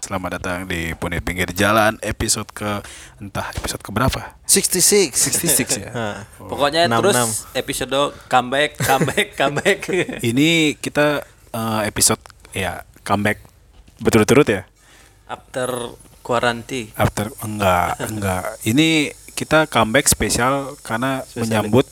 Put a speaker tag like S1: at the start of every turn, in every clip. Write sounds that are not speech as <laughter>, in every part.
S1: Selamat datang di Punit Pinggir Jalan episode ke entah episode ke berapa?
S2: 66
S1: 66 ya.
S2: Nah,
S3: Pokoknya
S2: Enam,
S3: terus
S2: enam.
S3: episode comeback,
S1: <laughs>
S3: comeback, comeback.
S1: Ini kita eh, episode ya comeback berturut-turut ya.
S3: After quarantine.
S1: After enggak, enggak. Ini kita comeback spesial karena menyambut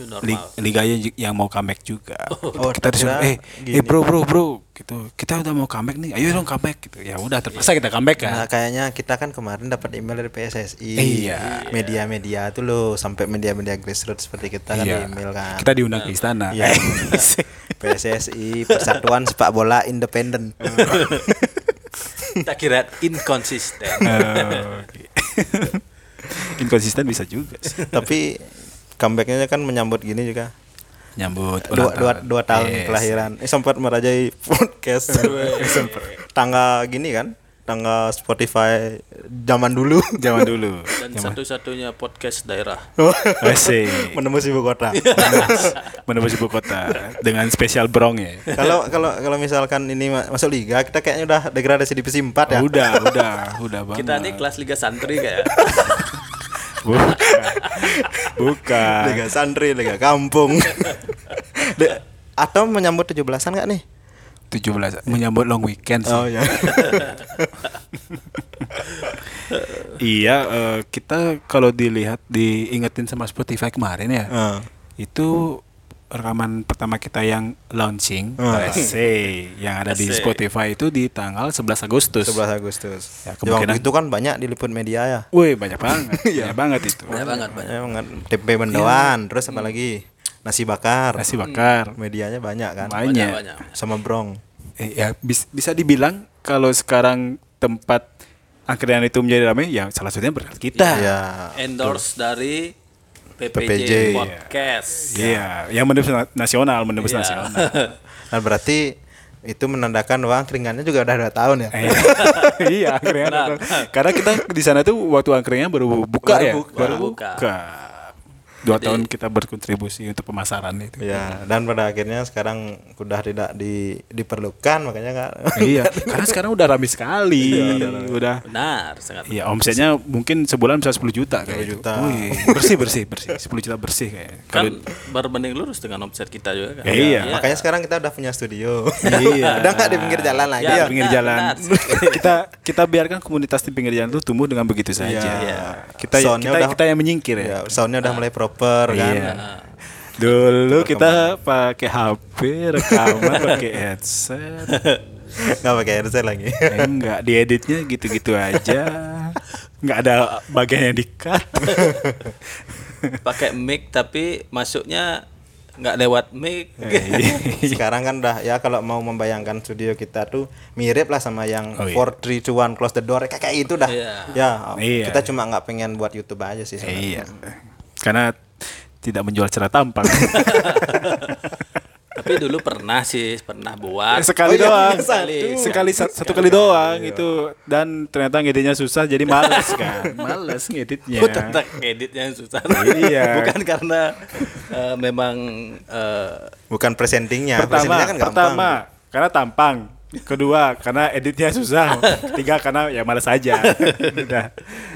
S3: New
S1: li-
S3: normal.
S1: liga yang, yang mau comeback juga.
S2: Oh,
S1: kita disuruh eh,
S2: kira
S1: eh bro bro bro gitu. Kita udah mau comeback nih. Ayo dong comeback gitu. Ya udah terpaksa kita comeback kan.
S2: Nah, kayaknya kita kan kemarin dapat email dari PSSI.
S1: Iya.
S2: Media-media itu loh sampai media-media grassroots seperti kita kan di
S1: Iya.
S2: email kan.
S1: Kita diundang ke istana. <laughs>
S2: Iya. PSSI Persatuan Sepak Bola
S1: <laughs>
S2: Independen.
S3: Kita kira inconsistent.
S1: Eh, oke. <laughs> Inkonsisten bisa juga sih.
S2: Tapi comebacknya kan menyambut gini juga.
S1: Nyambut
S2: Dua,
S1: ulang
S2: dua, dua tahun
S1: Yes.
S2: kelahiran. Eh, sempat merajai
S1: <laughs>
S2: podcast. Tangga gini kan, tangga Spotify zaman dulu. <laughs>
S1: Zaman dulu.
S3: Dan satu-satunya podcast daerah.
S1: <laughs> Asik.
S2: Menembus ibu kota.
S1: Iya. Menembus ibu kota dengan spesial brong ya.
S2: kalau kalau kalau misalkan ini ma- masuk liga kita kayaknya udah degradasi di divisi 4 ya.
S1: Udah, udah, udah banget.
S3: Kita nih kelas Liga Santri kayak.
S1: Bukan.
S2: Liga
S1: Bukan.
S2: santri, liga kampung.
S1: <laughs>
S2: De- atau menyambut 17-an enggak nih?
S1: 17 menyambut long weekend sih.
S2: <laughs> ya.
S1: Iya, eh, kita kalau dilihat diingetin sama Spotify kemarin ya.
S2: Ah.
S1: Itu rekaman pertama kita yang launching
S2: Ah.
S1: Asik. yang ada di
S3: Asik.
S1: Spotify itu di tanggal 11 Agustus.
S2: 11 Agustus.
S1: Ya,
S2: Ya,
S1: kemungkinan-
S2: waktu itu kan banyak diliput media ya.
S1: Woi banyak banget, banyak banget itu.
S3: Banyak banget, banyak.
S2: Ya, banget. tempe mendoan, terus apa lagi? Nasi bakar.
S1: Iya. Nasi bakar,
S2: Medianya banyak kan.
S1: banyak.
S3: banyak.
S2: Sama brong.
S1: Eh, ya bis- bisa dibilang kalau sekarang tempat angkringan itu menjadi ramai, ya salah satunya berkat kita. Iya,
S2: Iya.
S3: Endorse dari PPJ,
S2: PPJ.
S3: Podcast.
S1: Iya. yang menembus na- nasional, menembus
S3: Iya.
S1: nasional.
S2: Nah, berarti itu menandakan wah keringannya juga udah 2 tahun ya.
S1: Eh, <laughs> iya, angkringan. Karena kita di sana tuh waktu angkringan baru buka
S2: Baru
S1: ya,
S2: buka.
S1: baru
S3: Baru
S1: buka.
S3: buka.
S1: Dua tahun kita berkontribusi untuk pemasaran itu.
S2: Ya, dan pada akhirnya sekarang udah tidak di, diperlukan makanya kan.
S1: iya, karena sekarang udah ramai sekali, Iya, udah
S3: <laughs> Benar, sangat.
S1: Iya omsetnya mungkin sebulan bisa 10 juta kayak
S2: 10
S1: gitu.
S2: juta.
S1: Wih, bersih bersih bersih 10 juta bersih kayak. <laughs> Kalau
S3: Kan berbanding lurus dengan omset kita juga
S1: Ya,
S3: kan.
S1: iya.
S2: Makanya sekarang kita udah punya studio.
S1: Iya.
S2: <laughs> udah nggak di pinggir jalan
S1: di
S2: lagi ya.
S3: Ya,
S1: pinggir
S3: benar,
S1: jalan <laughs> kita kita biarkan komunitas di pinggir jalan itu tumbuh dengan begitu saja.
S2: Iya.
S1: Kita ya,
S2: Soundnya
S1: kita,
S2: udah-
S1: kita yang menyingkir ya.
S2: Ya, soundnya udah mulai proper kan.
S1: Iya. Dulu kita pakai HP rekaman pakai headset.
S2: Nggak pakai headset lagi.
S1: <laughs> Eh, Enggak dieditnya gitu-gitu aja. Enggak ada bagian yang di-cut.
S3: Pakai mic tapi masuknya nggak lewat mic.
S1: Iya.
S2: sekarang kan udah ya kalau mau membayangkan studio kita tuh mirip lah sama yang
S1: Oh, iya.
S2: 4 3 2 1 close the door kayak kayak itu dah.
S3: Iya.
S2: Ya,
S1: Iya.
S2: kita cuma nggak pengen buat YouTube aja sih
S1: Iya.
S2: sebenarnya.
S1: Karena tidak menjual secara tampang.
S3: tapi dulu pernah sih, pernah buat.
S1: Eh, sekali
S2: Oh iya,
S1: doang
S2: sekali.
S3: <laughs>
S1: sekali sat- satu kali doang itu dan ternyata ngeditnya susah jadi males kan males ngeditnya
S3: Aku tentang editnya yang susah.
S1: Iya.
S3: <laughs> Bukan karena eh, memang eh,
S2: Bukan presentingnya.
S1: pertama
S2: presentingnya kan gampang.
S1: pertama karena tampang kedua karena editnya susah ketiga karena ya males aja udah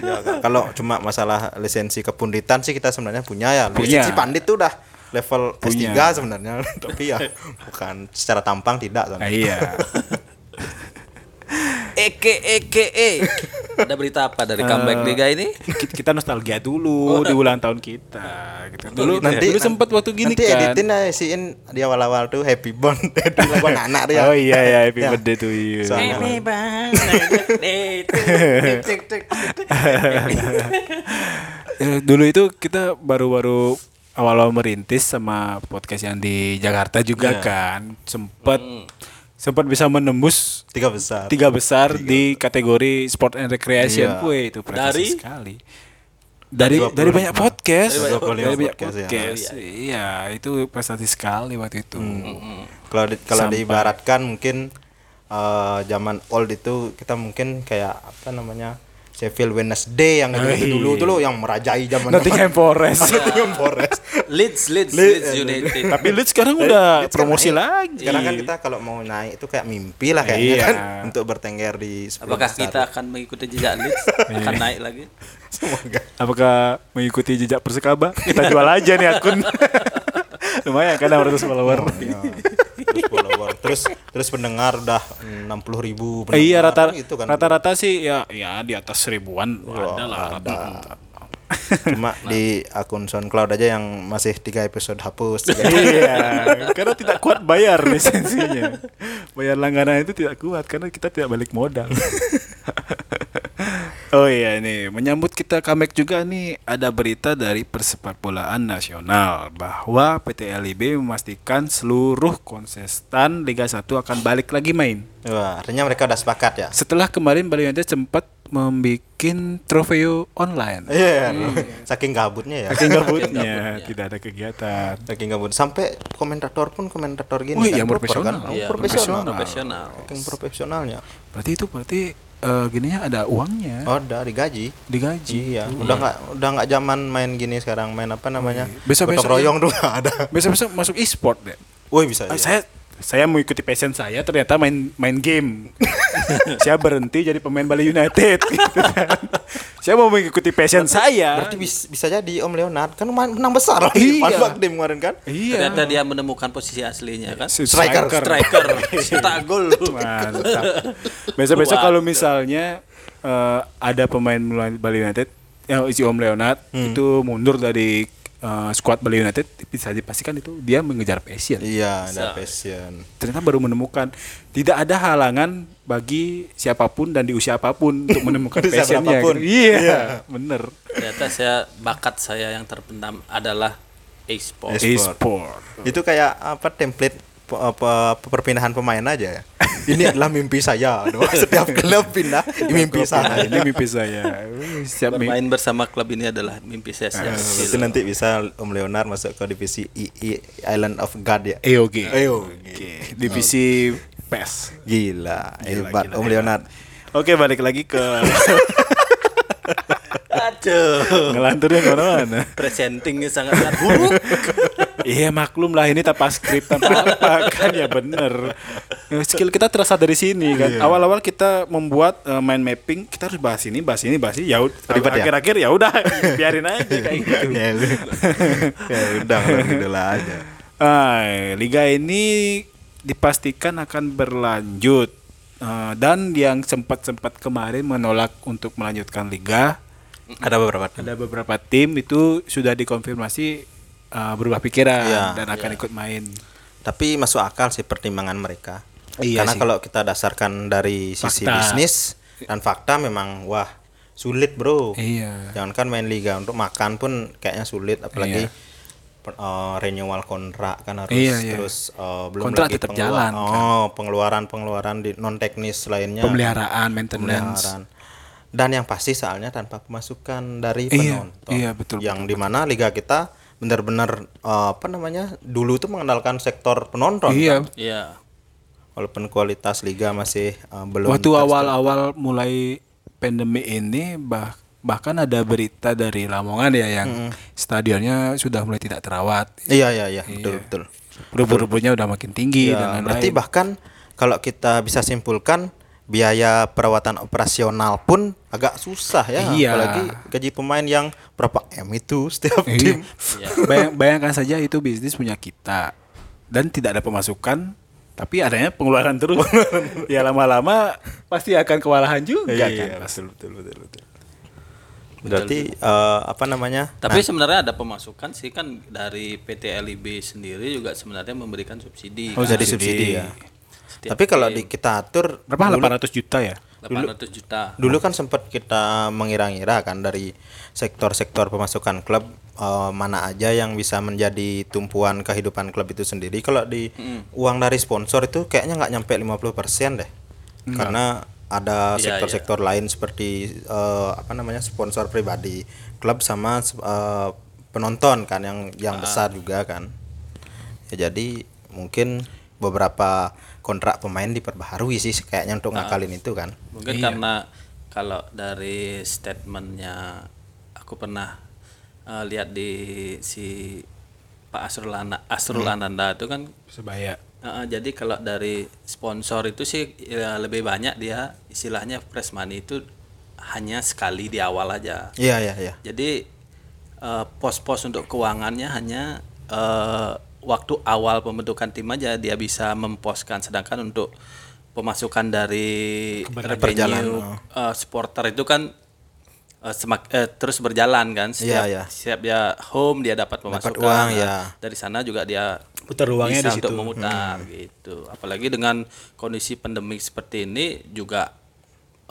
S2: Ya, k- kalau cuma masalah lisensi kepunditan sih kita sebenarnya punya ya.
S1: Punya.
S2: Lisensi pandit tuh udah level
S1: Punya.
S2: S3 sebenarnya. <laughs> Tapi ya bukan secara tampang tidak
S1: Nah,
S2: sebenarnya.
S1: iya
S3: Eke Eke E. Ada berita apa
S1: Eh.
S3: dari comeback liga ini?
S1: Ki- kita nostalgia dulu di ulang tahun kita gitu. dulu Oh. nanti dulu sempat waktu gini
S2: nanti
S1: kan
S2: editin aja isiin di awal-awal tuh happy bond <laughs> editin lagu anak dia.
S1: oh iya <laughs> ya happy birthday to you
S2: Soalnya-
S1: Eh, dulu itu kita baru-baru awal-awal merintis sama podcast yang di Jakarta juga kan sempat sempat bisa menembus
S2: Tiga besar.
S1: tiga besar di kategori sport and recreation.
S2: Iya.
S1: Wih, itu prestasi
S3: Dari?
S1: sekali. Dari dari banyak podcast,
S2: Dari banyak
S1: dari banyak
S2: podcast,
S1: podcast.
S2: ya.
S1: Iya, itu prestasi sekali waktu itu.
S2: Hmm. Kalau di, kalau
S1: Sampai.
S2: diibaratkan mungkin eh, zaman old itu kita mungkin kayak apa namanya? Sheffield Wednesday yang
S1: Oh,
S2: itu
S1: iya. Nah,
S2: dulu tuh loh yang merajai zaman
S1: Nottingham Forest.
S2: Nottingham Forest.
S3: Leeds, Leeds,
S2: Le-
S3: Leeds United.
S1: <laughs> Tapi Leeds sekarang udah
S2: Leeds kan
S1: promosi
S2: naik.
S1: lagi.
S2: Sekarang kan kita kalau mau naik itu kayak mimpi lah kayaknya
S1: Iya.
S2: kan untuk bertengger di 10
S3: Apakah
S2: besar.
S3: kita akan mengikuti jejak
S1: <laughs>
S3: Leeds?
S1: Iya.
S3: akan naik lagi?
S2: <laughs> semoga
S1: Apakah mengikuti jejak Persekaba? Kita jual aja nih akun. <laughs> Lumayan kan 600 follower.
S2: Ya. terus follower terus terus pendengar udah 60.000 ribu pendengar
S1: iya rata
S2: gitu kan
S1: rata-rata sih ya ya di atas ribuan ada lah rata.
S2: cuma di akun SoundCloud aja yang masih tiga episode hapus tiga
S1: iya, <laughs> karena tidak kuat <laughs> bayar lisensinya. Bayar langganan itu tidak kuat karena kita tidak balik modal. <laughs> oh iya nih, menyambut kita comeback juga nih ada berita dari Persepakbolaan Nasional bahwa PT LIB memastikan seluruh konsestan Liga 1 akan balik lagi main.
S2: Wah, artinya mereka udah sepakat ya
S1: Setelah kemarin Bali United sempat membuat trofeo online.
S2: Iya, saking gabutnya ya.
S1: <laughs> Saking gabutnya, tidak ada kegiatan.
S2: Saking gabut sampai komentator pun komentator gini.
S1: Wih,
S2: kan,
S1: yang
S2: proper
S1: profesional.
S2: kan? Oh,
S1: Iya,
S2: profesional.
S3: Profesional.
S2: Saking profesionalnya.
S1: Berarti itu berarti eh, gininya ada uangnya,
S2: Oh, dari gaji.
S1: digaji.
S2: Iya, udah nggak udah nggak zaman main gini sekarang main apa namanya?
S1: Besok-besok
S2: Gotong royong dulu <laughs> nggak ada.
S1: Besok-besok masuk e-sport deh.
S2: Woi bisa.
S1: Ah,
S2: iya.
S1: Saya saya mengikuti passion saya ternyata main main
S2: <laughs>
S1: game. saya berhenti jadi pemain Bali United. gitu kan. saya mau mengikuti passion saya.
S2: Berarti bis- bisa, jadi Om Leonard kan main menang besar
S1: Iya.
S2: lagi pas Bakdim kemarin kan.
S1: iya.
S3: Ternyata dia menemukan posisi aslinya kan?
S2: Striker.
S3: Striker, cetak gol.
S1: <laughs> Mantap. Besok-besok kalau misalnya eh, ada pemain Mula- Bali United yang isi Om Leonard
S2: Hmm.
S1: itu mundur dari eh, squad Bali United bisa dipastikan itu dia mengejar passion.
S2: Iya, ada passion.
S1: Ternyata baru menemukan tidak ada halangan bagi siapapun dan di usia apapun untuk menemukan
S2: Usia
S1: passionnya.
S2: berapapun.
S1: gitu. Iya, bener.
S3: Ternyata saya bakat saya yang terpendam adalah e-sport.
S2: E-sport.
S1: E-sport.
S2: Itu kayak apa template pe- apa perpindahan pemain aja ya. <laughs> Ini adalah mimpi saya. Aduh, <laughs> Setiap klub <laughs> pindah mimpi
S1: Nah,
S2: saya.
S1: Ini mimpi saya. Siap mimpi.
S3: Bermain bersama klub ini adalah mimpi saya sejak kecil.
S2: Itu nanti bisa Om Leonard masuk ke divisi II Island of God ya.
S1: EOG.
S2: Ayo,
S1: Oke, E Divisi E PES.
S2: gila, hebat Om Leonard.
S1: Oke balik lagi ke
S3: Aduh.
S1: <laughs> ngelanturnya kemana-mana
S3: Presentingnya sangat sangat buruk.
S1: Iya maklum lah ini tanpa skrip tanpa apa <laughs> kan ya bener Skill kita terasa dari
S2: Iya.
S1: sini kan Awal-awal kita membuat eh, mind mapping Kita harus bahas ini, bahas ini, bahas ini Ya ud-
S2: Ribet ya?
S1: akhir-akhir ya udah <laughs> biarin aja kayak gitu Ya
S2: ya
S1: <laughs>
S2: udah kalau gitu lah aja.
S1: Ah, Liga ini dipastikan akan berlanjut Eh, Dan yang sempat-sempat kemarin menolak untuk melanjutkan Liga
S2: Ada beberapa
S1: ada beberapa tim itu sudah dikonfirmasi uh, berubah pikiran
S2: Iya.
S1: dan akan ikut main.
S2: Tapi masuk akal sih pertimbangan mereka.
S1: Iya
S2: Karena
S1: sih.
S2: kalau kita dasarkan dari sisi
S1: Fakta.
S2: bisnis dan fakta memang wah sulit bro.
S1: Iya.
S2: Jangankan main liga untuk makan pun kayaknya sulit
S1: Iya.
S2: apalagi per- eh, renewal kontrak kan harus
S1: Iya, iya.
S2: terus eh, belum
S1: Kontrak
S2: lagi
S1: tetap
S2: pengelua-
S1: jalan, kan.
S2: Oh, pengeluaran-pengeluaran di non teknis lainnya.
S1: Pemeliharaan, maintenance.
S2: pemeliharaan. Dan yang pasti soalnya tanpa pemasukan dari
S1: Iya,
S2: penonton.
S1: iya, betul,
S2: Yang dimana liga kita benar-benar eh, apa namanya dulu tuh mengandalkan sektor penonton.
S1: Iya.
S3: Iya.
S2: Walaupun kualitas liga masih eh, belum.
S1: Waktu awal-awal mulai pandemi ini bah bahkan ada berita dari Lamongan ya yang stadionnya sudah mulai tidak terawat.
S2: Iya iya iya betul betul.
S1: Rubuh-rubuhnya udah makin tinggi
S2: Iya,
S1: dan lain-lain.
S2: berarti bahkan kalau kita bisa simpulkan biaya perawatan operasional pun agak susah ya.
S1: Iya.
S2: Apalagi gaji pemain yang berapa m itu setiap tim.
S1: Iya. Bayang- bayangkan saja itu bisnis punya kita dan tidak ada pemasukan tapi adanya pengeluaran
S2: <laughs>
S1: terus. ya lama-lama pasti akan kewalahan juga kan.
S2: Iya, betul betul betul betul. Berarti eh, apa namanya?
S3: Tapi sebenarnya ada pemasukan sih kan dari PT LIB sendiri juga sebenarnya memberikan subsidi.
S2: Oh,
S3: kan?
S2: jadi subsidi ya.
S3: Setiap
S2: Tapi kalau
S3: tim.
S2: di, kita atur
S1: Berapa? 800 juta ya?
S3: 800 juta.
S2: Dulu kan sempat kita mengira-ngira kan dari sektor-sektor pemasukan klub eh, mana aja yang bisa menjadi tumpuan kehidupan klub itu sendiri. Kalau di uang dari sponsor itu kayaknya nggak nyampe 50% deh. Karena ada
S3: Iya,
S2: sektor-sektor lain seperti eh, apa namanya sponsor pribadi klub sama eh, penonton kan yang
S3: Ah.
S2: yang besar juga kan. Ya jadi mungkin
S3: Ah.
S2: beberapa kontrak pemain diperbaharui sih kayaknya untuk ngakalin itu kan.
S3: Mungkin karena kalau dari statementnya aku pernah eh, lihat di si Pak Asrul Ana- Asrul Ananda itu kan
S1: Sebaya.
S3: eh, jadi kalau dari sponsor itu sih ya, lebih banyak dia istilahnya press money itu hanya sekali di awal aja.
S2: Iya iya iya.
S3: Jadi eh, pos-pos untuk keuangannya hanya eh, waktu awal pembentukan tim aja dia bisa memposkan. Sedangkan untuk pemasukan dari revenue
S2: oh.
S3: eh, supporter itu kan eh, semak- eh, terus berjalan kan. Setiap,
S2: Iya, iya.
S3: setiap dia home dia dapat pemasukan.
S2: uang,
S3: Nah,
S2: ya.
S3: Dari sana juga dia
S1: Putar uangnya di
S3: bisa untuk
S1: situ. Hmm.
S3: memutar gitu. Apalagi dengan kondisi pandemi seperti ini juga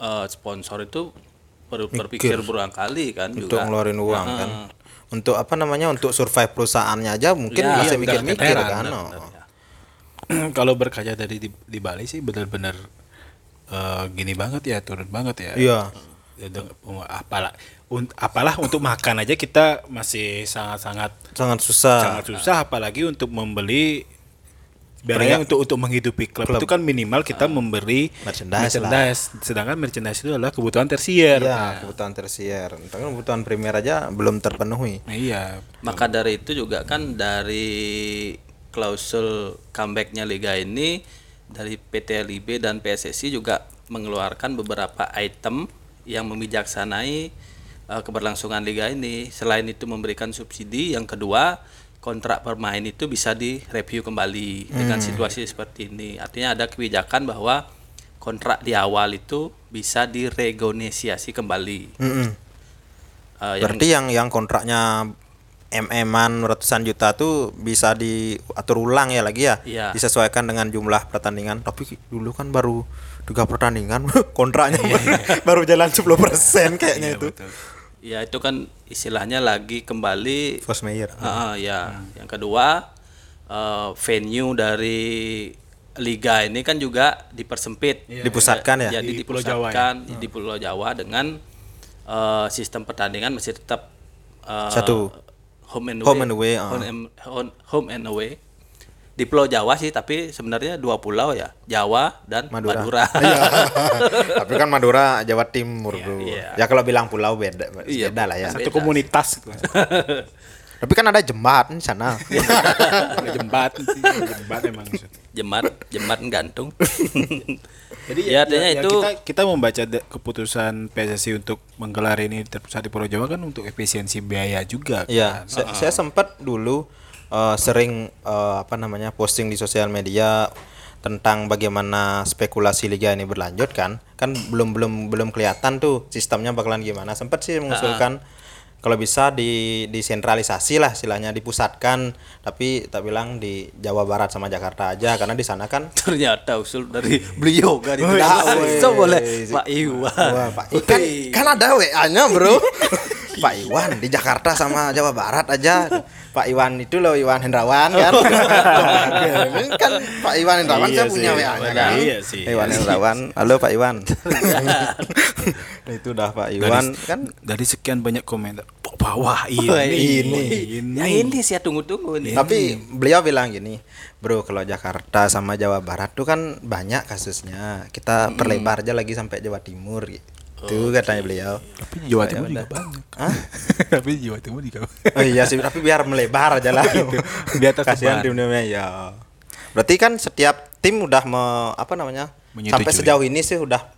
S3: eh, sponsor itu perlu berpikir berulang kali kan
S2: Untuk
S3: juga.
S2: ngeluarin uang kan. Untuk apa namanya? Untuk survive perusahaannya aja mungkin
S3: Ya,
S2: masih
S3: udah
S2: mikir-mikir
S3: keteteran,
S2: kan.
S3: benar,
S2: oh.
S3: benar, ya.
S1: <clears throat> Kalau berkaca dari di, di Bali sih benar-benar eh, gini banget ya, turun banget ya.
S2: Iya.
S1: Ya, dong, Apalah, un- apalah untuk makan aja kita masih sangat-sangat
S2: Sangat susah.
S1: sangat susah apalagi untuk membeli Barangnya untuk untuk menghidupi klub, itu kan minimal kita memberi
S2: Ah. Merchandise lah.
S1: merchandise. sedangkan merchandise itu adalah kebutuhan tersier.
S2: Iya, kebutuhan tersier. Entah kan kebutuhan primer aja belum terpenuhi.
S1: Nah, iya.
S3: Maka dari itu juga kan dari klausul comebacknya liga ini dari PT LIB dan PSSI juga mengeluarkan beberapa item yang memijaksanai eh, keberlangsungan liga ini. Selain itu memberikan subsidi, yang kedua kontrak pemain itu bisa direview kembali dengan situasi seperti ini. Artinya ada kebijakan bahwa kontrak di awal itu bisa diregonesiasi kembali.
S2: Mm-mm.
S3: Eh, yang
S2: Berarti yang yang kontraknya MM-an ratusan juta tuh bisa diatur ulang ya lagi ya.
S3: Iya.
S2: Disesuaikan dengan jumlah pertandingan. Tapi dulu kan baru tiga pertandingan <laughs> kontraknya
S3: Iya,
S2: baru jalan
S3: <laughs>
S2: 10% kayaknya itu.
S3: Ya itu kan istilahnya lagi kembali
S2: First Mayer.
S3: Ah, ya. Yang kedua eh, venue dari liga ini kan juga dipersempit. Iya,
S2: Dipusatkan ya?
S1: Di
S3: Jadi
S1: Pulau
S3: dipusatkan
S1: Jawa ya?
S3: di Pulau Jawa dengan eh, sistem pertandingan masih tetap eh,
S2: Satu.
S3: home and away.
S2: Home and away, ah.
S3: Home and- hon- home and away. Di Pulau Jawa sih, tapi sebenarnya dua pulau ya, Jawa dan
S2: Madura.
S3: Madura.
S2: Iya.
S3: <laughs>
S2: <laughs> Tapi kan Madura Jawa Timur, Bro.
S3: iya.
S2: Ya kalau bilang pulau beda
S3: Iya,
S2: beda lah ya.
S1: Satu komunitas gitu.
S2: <laughs> Tapi kan ada jembatan di sana.
S3: Iya.
S1: Ada jembat sih, ada jembat emang.
S3: Jemat, jemat gantung.
S2: <laughs>
S1: Jadi
S3: Ya, artinya itu-
S1: kita kita membaca de- keputusan PSSI untuk menggelar ini terpusat di Pulau Jawa kan untuk efisiensi biaya juga.
S3: Ah,
S2: Iya, sa- saya, sempat dulu eh, sering eh, apa namanya posting di sosial media tentang bagaimana spekulasi liga ini berlanjut kan. Kan belum belum belum kelihatan tuh sistemnya bakalan gimana. Sempat sih
S3: Ah,
S2: mengusulkan kalau bisa di disentralisasi lah istilahnya dipusatkan tapi tak bilang di Jawa Barat sama Jakarta aja karena di sana kan
S3: ternyata usul dari <laughs> beliau kan itu
S2: Wah,
S3: Bisa
S2: weh.
S3: boleh iya, Pak Iwan Iya,
S2: Wah, Pak I- kan, kan ada WA-nya,
S1: <laughs>
S2: Bro. Pak Iwan di Jakarta sama Jawa Barat aja. Pak Iwan itu loh Iwan Hendrawan kan.
S1: <laughs>
S2: kan Pak Iwan Hendrawan
S1: Iya
S2: saya punya
S1: sih.
S2: WA-nya kan.
S1: Iya sih.
S2: Iwan Hendrawan. Halo Pak
S1: <laughs>
S2: Iwan. Nah, itu dah Pak Iwan
S1: dari,
S2: kan
S1: dari sekian banyak komentar bawah ini
S3: Wah,
S2: ini.
S1: ini.
S3: ya ini sih ya tunggu-tunggu nih
S2: Tapi beliau bilang gini, bro kalau Jakarta sama Jawa Barat tuh kan banyak kasusnya. Kita
S1: Hmm.
S2: perlebar aja lagi sampai Jawa Timur gitu katanya beliau.
S1: Tapi di Jawa Timur juga banyak. <laughs> Tapi di Jawa Timur juga. banyak.
S2: Oh <laughs> iya sih, tapi biar melebar aja lah.
S1: Iya,
S2: gitu.
S1: Biar tersebar.
S2: Kasihan tim-timnya ya. Berarti kan setiap tim udah me- apa namanya?
S1: Menyetujui.
S2: Sampai sejauh ini sih udah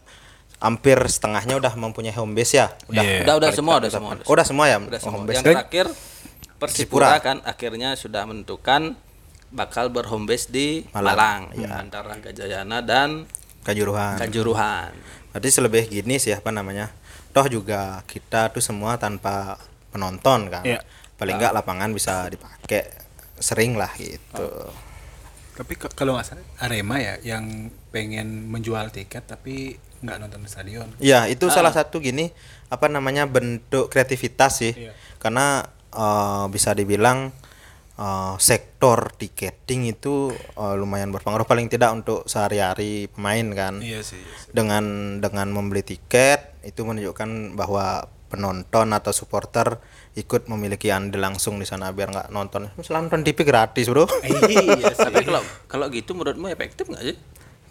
S2: hampir setengahnya udah mempunyai home base ya. Udah.
S1: Iya.
S3: udah udah semua udah semua
S2: Oh, udah semua ya?
S3: udah
S2: Oh,
S3: semua
S2: home base.
S3: yang terakhir Persipura kan akhirnya sudah menentukan bakal berhome base di Malang, Iya. antara Gajayana dan Ah.
S2: Kanjuruhan.
S3: Kanjuruhan
S2: Berarti selebih gini sih apa namanya? Toh juga kita tuh semua tanpa penonton kan.
S1: Iya.
S2: Paling enggak lapangan bisa dipakai sering lah gitu.
S1: Tapi ke- kalau nggak salah Arema ya yang pengen menjual tiket tapi nggak nonton di stadion.
S2: Iya, itu salah
S1: Ah.
S2: satu gini apa namanya bentuk kreativitas sih.
S1: Iya.
S2: Karena eh, bisa dibilang eh, sektor tiketing itu eh, lumayan berpengaruh paling tidak untuk sehari-hari pemain kan.
S1: Iya sih.
S2: Dengan dengan membeli tiket itu menunjukkan bahwa penonton atau supporter ikut memiliki andil langsung di sana biar nggak
S1: Iya.
S3: Eh,
S2: nonton. Misalnya nonton TV gratis, Bro.
S3: iya tapi kalau kalau gitu menurutmu efektif nggak sih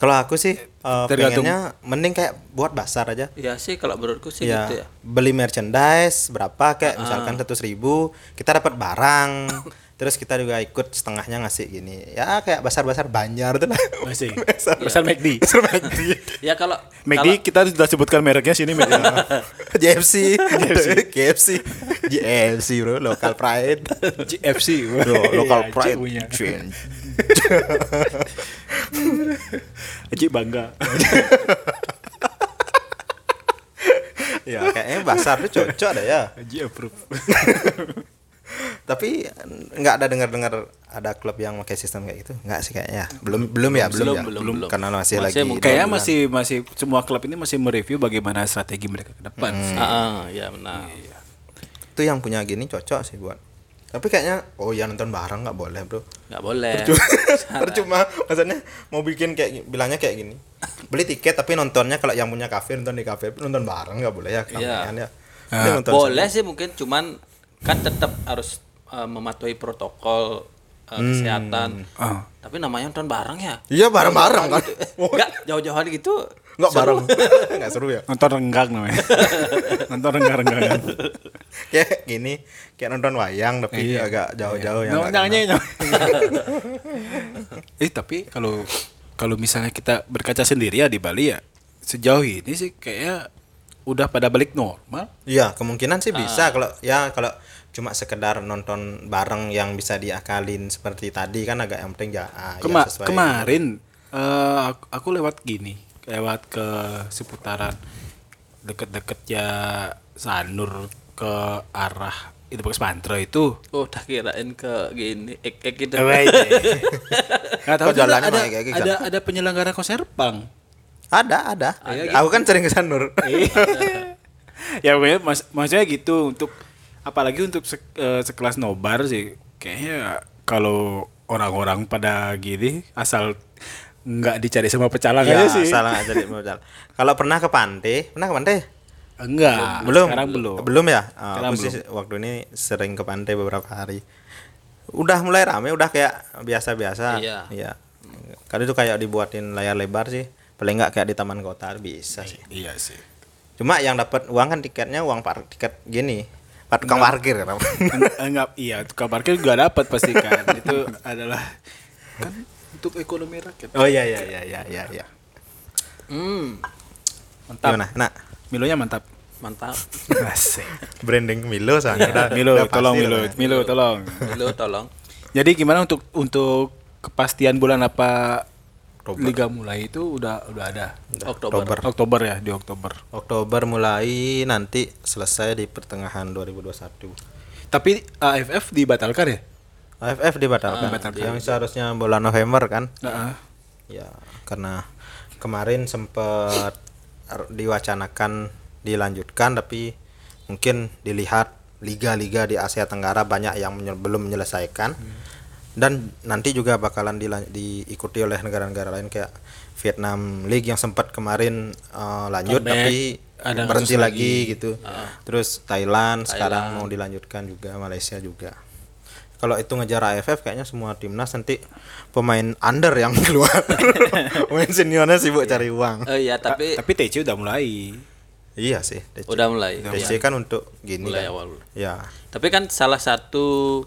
S2: Kalau aku sih eh,
S1: Tergantung.
S2: pengennya mending kayak buat basar aja.
S3: Ya sih kalau menurutku sih
S2: ya,
S3: gitu ya. Ah,
S2: beli merchandise berapa kayak misalkan seratus ribu kita dapat
S3: <laughs>
S2: barang terus kita juga ikut setengahnya ngasih gini ya kayak basar-basar banjar tuh lah <laughs>
S1: Masih.
S2: Basar-
S1: Besar McD.
S2: basar McD
S3: Ya kalau
S1: McD kita sudah sebutkan mereknya sini <laughs> McD.
S2: JFC <laughs> KFC JFC bro local
S3: <laughs>
S2: pride
S1: GFC.
S2: bro
S1: Iya,
S2: local pride
S1: Cik punya.
S2: Cuin.
S1: Cik bangga.
S2: ya kayaknya basar tuh cocok deh ya
S1: Cik approve.
S2: tapi nggak ada dengar-dengar ada klub yang pakai sistem kayak gitu nggak sih kayaknya belum belum ya belum
S3: Belum,
S2: ya
S3: belum, belum.
S2: karena masih,
S3: Masih
S2: lagi
S3: mungkin-
S1: Kayaknya masih masih semua klub ini masih mereview bagaimana strategi mereka ke depan.
S2: Hmm.
S3: Ah, ah, ya benar.
S2: itu yang punya gini cocok sih buat tapi kayaknya oh ya nonton bareng nggak boleh bro
S3: nggak boleh.
S2: percuma maksudnya mau bikin kayak gi- bilangnya kayak gini beli tiket tapi nontonnya kalau yang punya kafe nonton di kafe nonton bareng nggak boleh ya keramaian ya Ini nonton
S3: boleh sih mungkin cuman kan tetap harus eh, mematuhi protokol eh, kesehatan.
S1: Ah.
S3: Tapi namanya nonton bareng ya.
S2: iya bareng bareng kan <laughs>
S3: Enggak jauh-jauhan gitu.
S2: nggak bareng <laughs> nggak seru ya
S1: Nonton renggang namanya. <laughs> Nonton <laughs> renggang-renggangan.
S2: kayak gini kayak nonton wayang tapi agak jauh-jauh Oh,
S1: Iya.
S2: yang nggak kenal.
S1: Nyanyi.
S2: <laughs>
S1: Eh tapi kalau kalau misalnya kita berkaca sendiri ya di Bali ya sejauh ini sih kayaknya udah pada balik normal.
S2: Iya kemungkinan sih bisa kalau ya kalau cuma sekedar nonton bareng yang bisa diakalin seperti tadi kan agak yang penting ya, ah, ya
S1: Kema-
S2: sesuai.
S1: kemarin eh, aku, aku lewat gini, lewat ke seputaran deket-deket ya Sanur ke arah itu bekas pantre itu.
S3: Oh, udah kirain ke gini ek ek gitu. <laughs>
S1: Nggak tahu
S2: Kok jalannya
S1: ada,
S2: naik kayak gitu?
S1: ada ada penyelenggara konser
S2: <laughs>
S1: pang.
S2: Ada ada. Aku kan sering ke Sanur. <laughs>
S1: ya pokoknya mas- maksudnya gitu untuk apalagi untuk se- eh, sekelas nobar sih kayaknya kalau orang-orang pada gini asal nggak dicari sama pecalang
S2: ya
S1: aja sih.
S2: salah aja Dik, modal. Kalau pernah ke pantai, pernah ke pantai?
S1: Enggak, Nah,
S2: belum.
S1: Ah, sekarang belum.
S2: Belum ya? Ah,
S1: Sekarang
S2: aku sih waktu ini sering ke pantai beberapa hari. Udah mulai rame, udah kayak biasa-biasa.
S3: Iya.
S2: Kali itu kayak dibuatin layar lebar sih. Paling nggak kayak di taman kota bisa sih.
S1: Iya sih.
S2: Cuma yang dapat uang kan tiketnya uang par tiket gini. Par tukang parkir kan.
S1: Eng- enggak iya tukang parkir juga dapat pasti kan <laughs> itu adalah kan untuk ekonomi rakyat
S2: oh iya iya iya iya iya iya.
S3: Hmm,
S1: mantap
S2: Gimana? Nak,
S1: milonya mantap
S3: mantap.
S1: asik
S2: branding Milo soalnya. Udah-
S1: milo
S2: udah pasti
S1: tolong
S2: lah.
S1: milo milo tolong
S3: Lo tolong.
S1: jadi gimana untuk untuk kepastian bulan apa liga mulai itu udah udah ada
S3: Oktober.
S2: Oktober.
S1: Oktober ya di Oktober
S2: Oktober mulai nanti selesai di pertengahan 2021.
S1: tapi AFF dibatalkan ya
S2: AFF dibatalkan. yang seharusnya bulan November kan? Ya, karena kemarin sempat diwacanakan dilanjutkan tapi mungkin dilihat liga-liga di Asia Tenggara banyak yang menye- belum menyelesaikan. Dan nanti juga bakalan dilan- diikuti oleh negara-negara lain kayak Vietnam League yang sempat kemarin eh, lanjut
S1: Comeback,
S2: tapi
S1: ada
S2: berhenti lagi, gitu. Terus Thailand, sekarang mau dilanjutkan juga Malaysia juga. Kalau itu ngejar AFF kayaknya semua timnas nanti pemain under yang <laughs> keluar. pemain seniornya sibuk cari uang.
S3: Eh ya, tapi
S1: tapi TC udah mulai
S2: Iya sih. DC,
S3: udah mulai.
S2: DC kan untuk gini
S3: Oh, iya. Mulai
S2: kan.
S3: awal.
S2: Ya.
S3: Tapi kan salah satu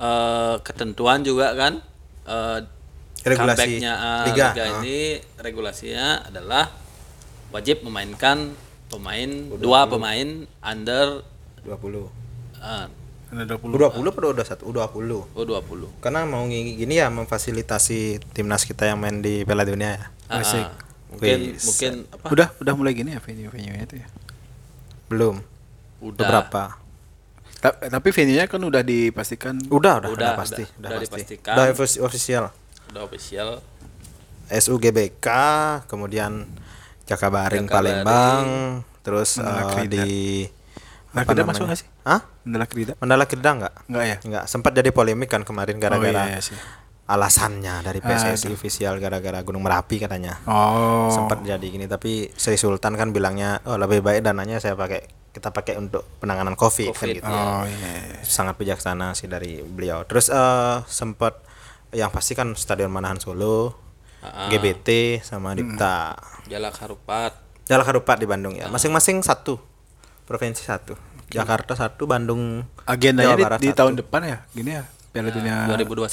S3: eh, ketentuan juga kan eh,
S2: Regulasi
S3: comeback-nya, eh,
S2: liga. Ah.
S3: liga, ini regulasinya adalah wajib memainkan pemain dua pemain under
S2: 20.
S3: eh,
S1: ada 20
S2: U20 perlu udah satu U20.
S3: U20.
S2: Karena mau ngi- gini ya memfasilitasi timnas kita yang main di Piala Dunia ya.
S3: Ah, ah. mungkin mungkin apa?
S1: udah udah mulai gini ya venue venue nya itu ya
S2: Belum.
S3: Udah.
S2: Beberapa.
S1: Ta- tapi venue nya kan udah dipastikan
S2: Udah, udah, udah,
S3: Udah,
S2: pasti,
S3: udah,
S2: udah,
S3: udah
S2: pasti.
S3: dipastikan.
S2: Udah ofis- official.
S3: Udah official.
S2: SUGBK, kemudian Jakabaring Palembang, terus eh, di
S1: Nah,
S2: apa
S1: kita
S2: namanya?
S1: masuk nggak sih?
S2: Hah?
S1: Mandala Krida?
S2: Mandala Krida nggak?
S1: Enggak ya?
S2: Nggak, sempat jadi polemik kan kemarin gara-gara
S1: iya, iya sih. Ah,
S2: alasannya dari PSSI official gara-gara Gunung Merapi katanya.
S1: Oh.
S2: Sempat jadi gini tapi Sri Sultan kan bilangnya oh lebih baik dananya saya pakai kita pakai untuk penanganan Covid, kan gitu.
S1: Oh iya.
S2: sangat bijaksana sih dari beliau. Terus eh sempat yang pasti kan Stadion Manahan Solo GBT sama Dipta.
S3: Jalak Harupat.
S2: Jalak Harupat di Bandung ya. Masing-masing satu. Provinsi satu. Jakarta satu, Bandung
S1: agendanya
S2: Jawa
S1: di,
S2: Barat
S1: di
S2: satu.
S1: tahun depan ya gini ya Piala Dunia
S2: Ah,
S3: 2021.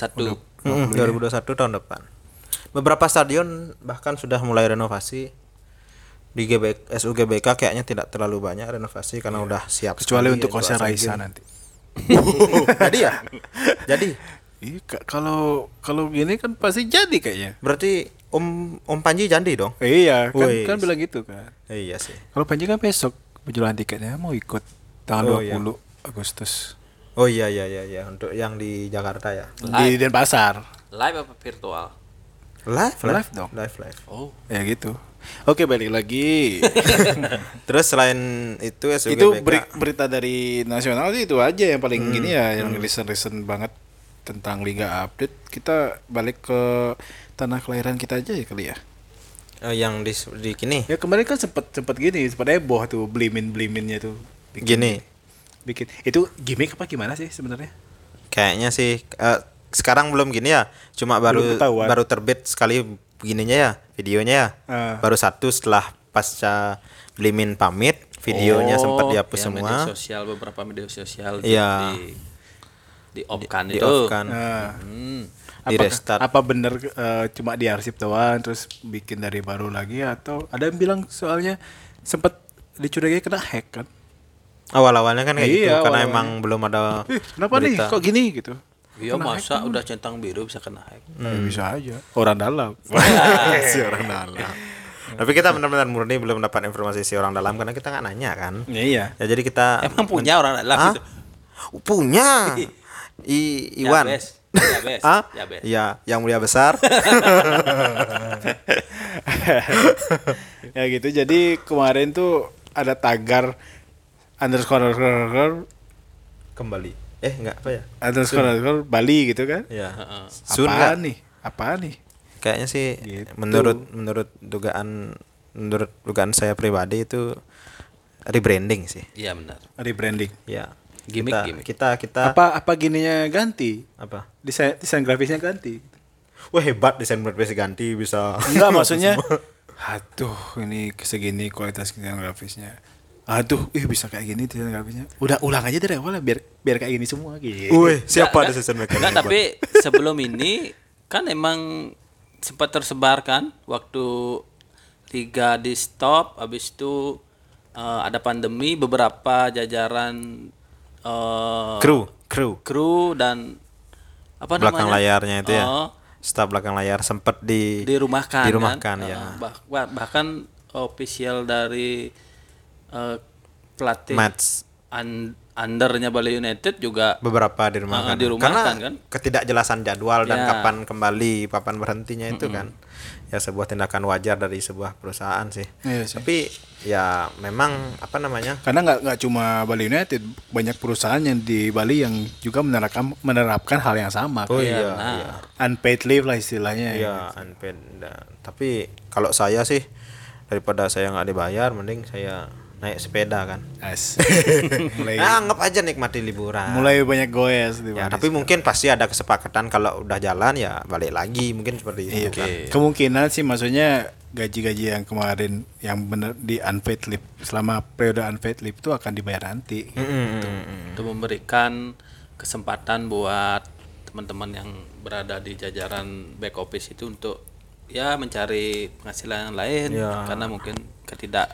S2: Mm, 2021 tahun depan. Beberapa stadion bahkan sudah mulai renovasi. Di GBK, SUGBK kayaknya tidak terlalu banyak renovasi karena udah
S1: Iya.
S2: siap.
S1: kecuali
S2: sekali
S1: untuk
S2: ya,
S1: konser
S2: dua
S1: Raisa
S2: stadion.
S1: nanti
S2: Jadi ya. Jadi
S1: Iya, ka- kalau kalau gini kan pasti jadi kayaknya.
S2: berarti Om Om Panji Jandi dong.
S1: Iya, kan
S2: Wih.
S1: kan bilang gitu kan.
S2: Eh, Iya sih.
S1: Kalau Panji kan besok penjualan tiketnya mau ikut tanggal
S2: Oh, iya.
S1: 20 Agustus
S2: Oh iya iya iya iya untuk yang di Jakarta ya.
S1: di Denpasar.
S3: Live apa virtual?
S2: Live
S1: Live dong.
S2: Live live.
S3: Oh.
S1: Ya gitu. Oke, balik <laughs> lagi.
S2: Terus selain itu SUGBK
S1: itu beri- berita dari nasional sih itu aja yang paling gini ya yang recent-recent banget tentang liga update. Kita balik ke tanah kelahiran kita aja ya kali ya.
S2: eh, yang di di kini
S1: Ya kemarin kan sempet sempet gini, sempet heboh tuh blimin bliminnya tuh bikin,
S2: gini.
S1: bikin. Itu gimmick apa gimana sih sebenarnya?
S2: Kayaknya sih eh, sekarang belum gini ya. Cuma baru
S1: Belum ketahuan.
S2: baru terbit sekali begininya ya, videonya ya.
S1: Ah.
S2: Baru satu setelah pasca Blimin pamit,
S1: Oh,
S2: videonya
S1: iya,
S2: sempat dihapus
S3: Ya,
S2: semua.
S3: media sosial beberapa media sosial di-
S2: Iya.
S3: di di offkan
S2: Di
S3: itu.
S2: off-kan.
S1: Nah,
S3: Hmm.
S2: kan, Di
S1: apakah-
S2: restart.
S1: Apa bener eh, cuma diarsip doang terus bikin dari baru lagi atau ada yang bilang soalnya sempat dicurigai kena hack kan?
S2: Awal-awalnya kan kayak gitu
S1: Iya,
S2: karena
S1: awal-awalnya.
S2: emang belum ada
S1: Ih, kenapa nih
S2: berita.
S1: kok gini gitu?
S3: Iya masa udah centang biru bisa kena hack.
S2: Hmm.
S1: Ya, bisa aja. Orang dalam. si orang dalam.
S2: Tapi kita benar-benar murni belum dapat informasi si orang dalam karena kita nggak nanya kan.
S1: Ya, iya.
S2: Ya jadi kita
S3: Emang punya orang gitu?
S2: Hah?
S3: dalam itu.
S2: Punya. I Iwan.
S3: Yabes. Yabes.
S2: Hah?
S3: Yabes.
S2: Ya, yang mulia besar.
S1: <laughs> ya gitu. Jadi kemarin tuh ada tagar underscore underscore
S2: <laughs> Kembali. Eh, enggak apa ya?
S1: underscore, underscore Bali gitu kan?
S2: Ya. Sun
S1: Apaan
S2: nggak?
S1: nih? Apaan nih?
S2: Kayaknya sih
S1: Gitu.
S2: menurut menurut dugaan menurut dugaan saya pribadi itu rebranding sih.
S3: Iya benar.
S1: Rebranding.
S2: Ya.
S3: Gimik,
S2: kita,
S3: gimik.
S2: kita kita
S1: Apa apa gininya ganti?
S2: apa?
S1: Desain desain grafisnya ganti.
S2: Wah, hebat desain WordPress ganti bisa.
S1: Enggak
S2: <laughs>
S1: maksudnya <laughs> Aduh ini segini kualitas desain grafisnya Aduh ih bisa kayak gini desain grafisnya Udah ulang aja dari awal lah biar, biar kayak gini semua
S3: Eh,
S1: gitu
S2: Wih, siapa
S3: Nggak,
S2: desain
S3: nggak,
S2: maker?
S3: nggak,
S2: yang hebat?
S3: tapi sebelum ini kan emang sempat tersebar kan waktu liga di stop habis itu eh, ada pandemi beberapa jajaran eh,
S2: kru, kru.
S3: kru dan apa
S2: Belakang
S3: namanya?
S2: layarnya itu ya.
S3: Oh,
S2: Staf belakang layar sempet di
S3: dirumahkan
S2: dirumahkan,
S3: kan?
S2: ya.
S3: Eh, bah- bah- bahkan official dari eh, pelatih
S2: Mats
S3: un- undernya Bali United juga
S2: beberapa di rumah
S3: Ah,
S2: kan.
S3: dirumahkan,
S2: Karena
S3: kan?
S2: ketidakjelasan jadwal dan
S3: Ya.
S2: kapan kembali, kapan berhentinya itu kan. Ya sebuah tindakan wajar dari sebuah perusahaan sih.
S1: Iya sih.
S2: Tapi ya memang apa namanya?
S1: Karena nggak nggak cuma Bali United Banyak perusahaan yang di Bali yang juga menerapkan, menerapkan hal yang sama
S2: Oh iya,
S3: nah.
S2: iya.
S1: Unpaid leave lah istilahnya ya.
S2: Iya, unpaid. Nah, tapi kalau saya sih daripada saya nggak dibayar mending saya naik sepeda kan.
S1: As- <laughs> mulai,
S2: Nah, anggap aja nikmati
S1: Eh.
S2: liburan.
S1: mulai banyak goes di
S2: Ya,
S1: Bali.
S2: tapi mungkin pasti ada kesepakatan kalau udah jalan ya balik lagi mungkin seperti itu.
S1: Iya,
S2: kan.
S1: Kemungkinan sih maksudnya gaji-gaji yang kemarin yang bener di unpaid leave selama periode unpaid leave itu akan dibayar nanti.
S3: itu memberikan kesempatan buat teman-teman yang berada di jajaran back office itu untuk ya mencari penghasilan yang lain
S2: Ya.
S3: karena mungkin ketidak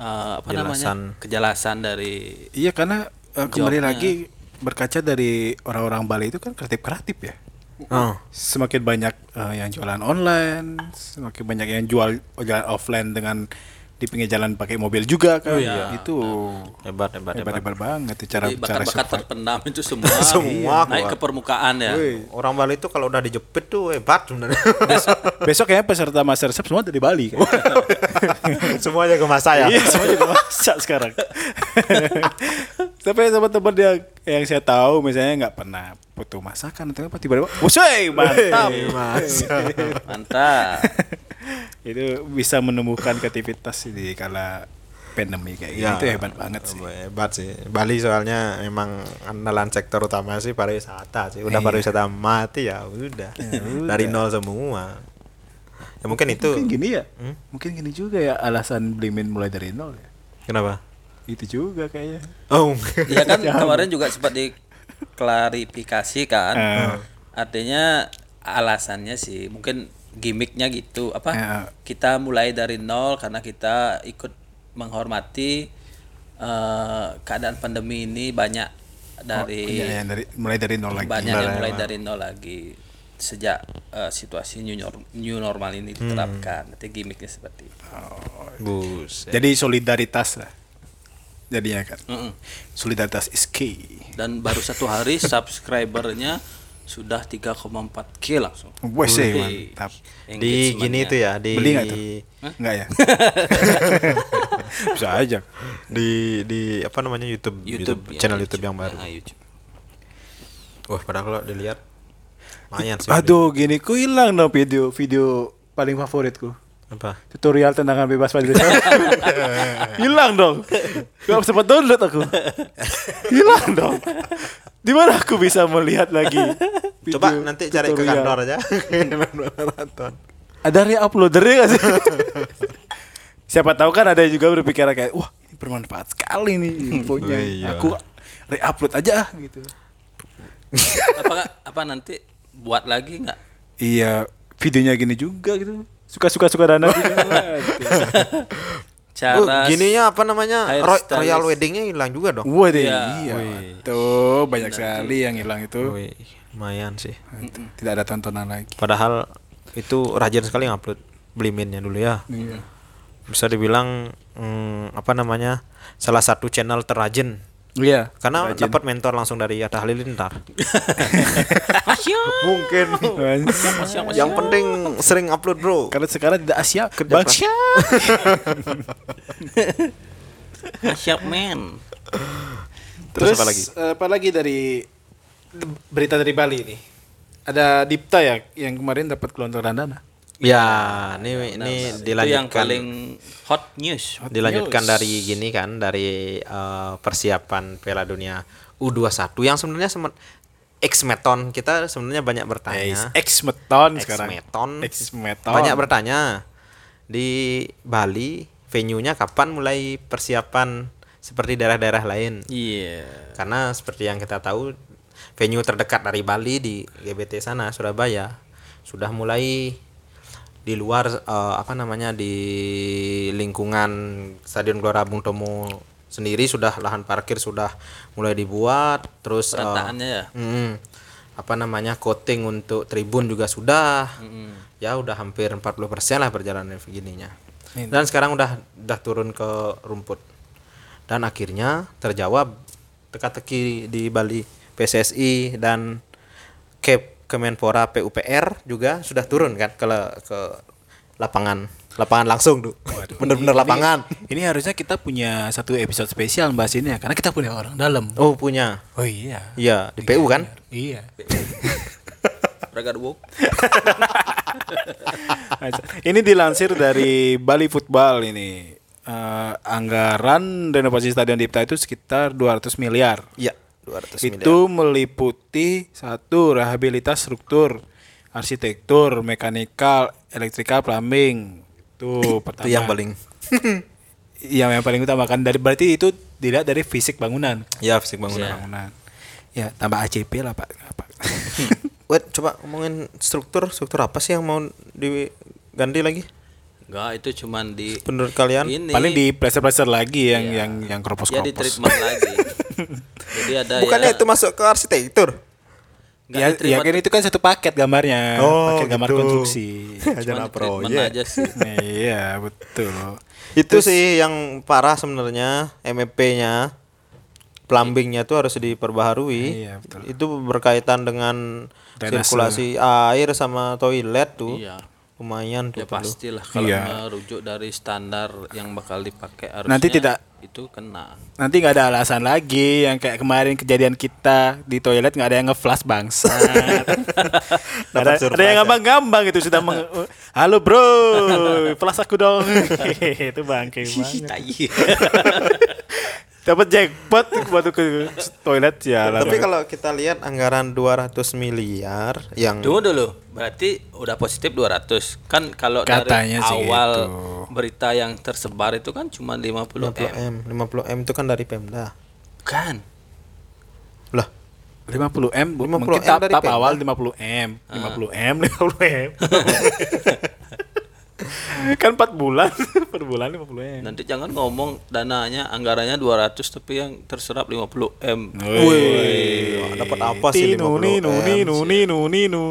S3: eh, apa
S2: Jelasan.
S3: namanya kejelasan dari
S1: Iya karena eh, kembali lagi berkaca dari orang-orang Bali itu kan kreatif-kreatif ya.
S2: Oh.
S1: Semakin banyak eh, yang jualan online, semakin banyak yang jual jualan offline dengan di pinggir jalan pakai mobil juga kan. Itu
S2: Hebat, hebat, hebat.
S1: hebat-hebat banget ya cara
S3: jadi
S1: cara
S3: bakat-bakat terpendam itu
S2: <laughs>
S3: semua,
S2: Semua
S3: naik
S2: keluar.
S3: ke permukaan ya
S2: Orang Bali itu kalau udah dijepit tuh hebat sebenarnya.
S1: <laughs> Besok kayaknya peserta MasterChef semua dari Bali kan.
S2: <laughs> <laughs> Semuanya ke masa ya.
S1: Iya, semua jadi masak sekarang. <laughs> Tapi teman-teman yang yang saya tahu misalnya nggak pernah foto masakan atau apa tiba-tiba, "Wusey, mantap."
S3: mantap
S1: <laughs> itu bisa menumbuhkan kreativitas di kala pandemi kayak gitu. Itu hebat banget sih.
S2: Hebat sih. Bali soalnya memang andalan sektor utama sih Iya. Ya pariwisata sih. Udah pariwisata mati ya udah. Dari nol semua. ya mungkin itu
S1: Mungkin gini ya. Mungkin gini juga ya alasan Blimin mulai dari nol ya.
S2: kenapa
S1: Itu juga kayaknya.
S2: oh <laughs>
S3: Ya kan kemarin juga sempat diklarifikasi kan.
S1: Eh.
S3: Artinya alasannya sih mungkin gimmicknya gitu apa
S1: Eh.
S3: kita mulai dari nol karena kita ikut menghormati eh, keadaan pandemi ini banyak dari
S1: Iya, yang dari mulai dari nol lagi.
S3: banyak yang mulai dari nol lagi sejak eh, situasi new, nor- new normal ini
S1: Hmm.
S3: diterapkan. Nanti gimmicknya seperti itu.
S2: bus
S1: Jadi solidaritas lah. Jadinya kan.
S3: Mm-mm.
S1: Solidaritas is key.
S3: Dan baru satu hari subscribernya sudah 3,4k langsung.
S1: Wes eh,
S3: Wih.
S1: mantap.
S2: di
S3: Engagement-nya.
S2: gini tuh ya di
S1: Beli nggak tuh? Enggak
S2: <laughs>
S1: ya? Bisa aja.
S2: di di apa namanya YouTube
S3: YouTube, ya,
S2: channel YouTube yang baru
S3: Ah, YouTube.
S2: wah padahal kalau dilihat lumayan Kan sih
S1: Aduh, gini ku hilang dong video video paling favoritku.
S2: apa
S1: Tutorial tendangan bebas
S2: <laughs>
S1: pada Hilang dong. Gak sempat download aku. Hilang dong. Di mana aku bisa melihat lagi? video
S2: coba nanti cari ke
S1: tutorial?
S2: kantor
S1: <laughs>
S2: aja nonton
S1: Ada re-uploadernya gak sih? Siapa tahu kan ada yang juga berpikiran kayak, wah ini bermanfaat sekali nih infonya.
S2: Oh, iya.
S1: Aku re-upload aja ah, gitu.
S3: apa apa nanti buat lagi nggak?
S1: Iya, videonya gini juga gitu. Suka-suka suka dana gitu.
S2: Bu,
S3: Cara
S2: Oh, gininya apa namanya
S3: hair
S2: Roy-
S3: stylist.
S2: royal weddingnya hilang juga dong
S1: Wah deh,
S3: Iya.
S1: iya. Tuh banyak sekali yang hilang itu.
S2: Wih, lumayan sih
S1: Itu, Tidak ada tontonan lagi.
S2: padahal itu rajin sekali ngupload beli minnya dulu ya
S1: Iya.
S2: bisa dibilang mm, apa namanya salah satu channel terrajin
S1: Iya.
S2: karena dapat mentor langsung dari Atta Halilintar
S1: <laughs> Mungkin.
S2: yang penting sering upload bro
S1: Karena sekarang tidak Asia,
S2: Kerja
S1: Bang
S2: keras.
S1: <laughs> Syah.
S3: siap men.
S2: Terus apa lagi?
S1: eh, apa lagi dari berita dari Bali ini? Ada Dipta ya yang kemarin dapat kelontoran dana.
S2: ya
S3: Nah,
S2: ini ini
S3: Itu yang
S2: dilanjutkan
S3: paling hot news.
S2: dilanjutkan dari gini kan dari eh, persiapan Piala Dunia U21 yang sebenarnya semen- X-Meton kita sebenarnya banyak bertanya
S1: Ex Meton Nah, sekarang.
S2: X-Meton.
S1: Ex Meton.
S2: Banyak bertanya di Bali venue-nya kapan mulai persiapan seperti daerah-daerah lain?
S3: Iya.
S2: Karena seperti yang kita tahu venue terdekat dari Bali di GBT sana Surabaya sudah mulai di luar eh, apa namanya di lingkungan Stadion Gelora Bung Tomo sendiri sudah lahan parkir sudah mulai dibuat terus eh,
S3: Perataannya ya.
S2: Mm-mm. apa namanya coating untuk tribun juga sudah ya udah hampir 40% lah perjalanan begininya dan sekarang udah udah turun ke rumput dan akhirnya terjawab teka-teki di Bali PSSI dan Kep Kemenpora PUPR juga sudah turun kan ke ke lapangan lapangan langsung tuh bener-bener lapangan
S1: Ini harusnya kita punya satu episode spesial bahas ini ya, karena kita punya orang dalam.
S2: oh punya
S1: Oh iya.
S2: iya di PU kan
S1: Iya.
S3: Ragadwok.
S1: <laughs> ini dilansir dari Bali Football ini. Eh, anggaran renovasi Stadion Dipta itu sekitar 200 miliar.
S2: iya 200
S1: itu meliputi satu rehabilitas struktur, arsitektur, mekanikal, elektrikal, plumbing. Itu pertama.
S2: itu yang paling <laughs>
S1: Iya, yang paling utama kan dari berarti itu dilihat dari fisik bangunan.
S2: ya fisik
S3: Iya.
S2: bangunan
S1: Bangunan. Ya, tambah ACP lah, Pak. Pak.
S2: Wait, coba ngomongin struktur, struktur apa sih yang mau diganti lagi?
S3: Enggak, itu cuman di
S2: Menurut kalian?
S3: <laughs> ini
S1: Paling di plaster-plaster lagi yang yang yang
S3: ya di
S1: kropos-kropos.
S3: treatment
S2: <laughs>
S3: lagi. Jadi ada
S2: Bukannya
S3: ya,
S2: itu masuk ke arsitektur?
S3: nggak
S1: Ya,
S3: di treatment,
S1: ya kan itu kan satu paket gambarnya,
S2: Oh,
S1: paket gambar
S2: gitu.
S1: <laughs> konstruksi.
S3: cuman di treatment aja sih.
S1: iya, betul.
S2: Itu sih yang parah sebenarnya MEP-nya plumbingnya itu harus diperbaharui.
S1: Iya, betul.
S2: Itu berkaitan dengan
S1: Drainase.
S2: sirkulasi air sama toilet tuh.
S3: Iya.
S2: Lumayan tuh.
S3: Ya
S2: perlu.
S3: pastilah kalau
S1: Iya.
S3: merujuk dari standar yang bakal dipakai harusnya
S1: Nanti tidak-
S3: itu kena.
S1: Nanti nggak ada alasan lagi yang kayak kemarin kejadian kita di toilet nggak ada yang ngeflash <laughs> bangsa. ada,
S2: surprise,
S1: ada yang
S2: ya?
S1: ngambang-ngambang itu sudah <laughs> meng- Halo bro, <laughs> Iya.
S3: Nah, iya.
S1: flash aku dong. itu bangke banget. Dapat jackpot baru ke toilet ya sialan.
S2: Tapi kan kalau kita lihat anggaran 200 miliar yang
S3: <laughs> Tunggu dulu, berarti udah positif 200. Kan kalau
S1: Katanya
S3: dari
S1: sih
S3: awal
S1: gitu.
S3: berita yang tersebar itu kan cuma 50
S2: 50M,
S3: M.
S2: 50M itu kan dari Pemda.
S3: Kan.
S2: Lah,
S1: 50 m,
S2: 50
S1: mungkin
S2: M
S1: tahap,
S2: dari
S1: tahap
S2: Pemda.
S1: awal 50 m, 50 m, 50 m. <laughs> kan 4 bulan, <laughs> per bulan
S2: Nah,
S1: 50 m.
S3: Nanti jangan ngomong dananya anggarannya 200 tapi yang terserap 50 M.
S2: wih, dapat apa sih 50M?
S1: Ninu, ninu, ninu, ninu.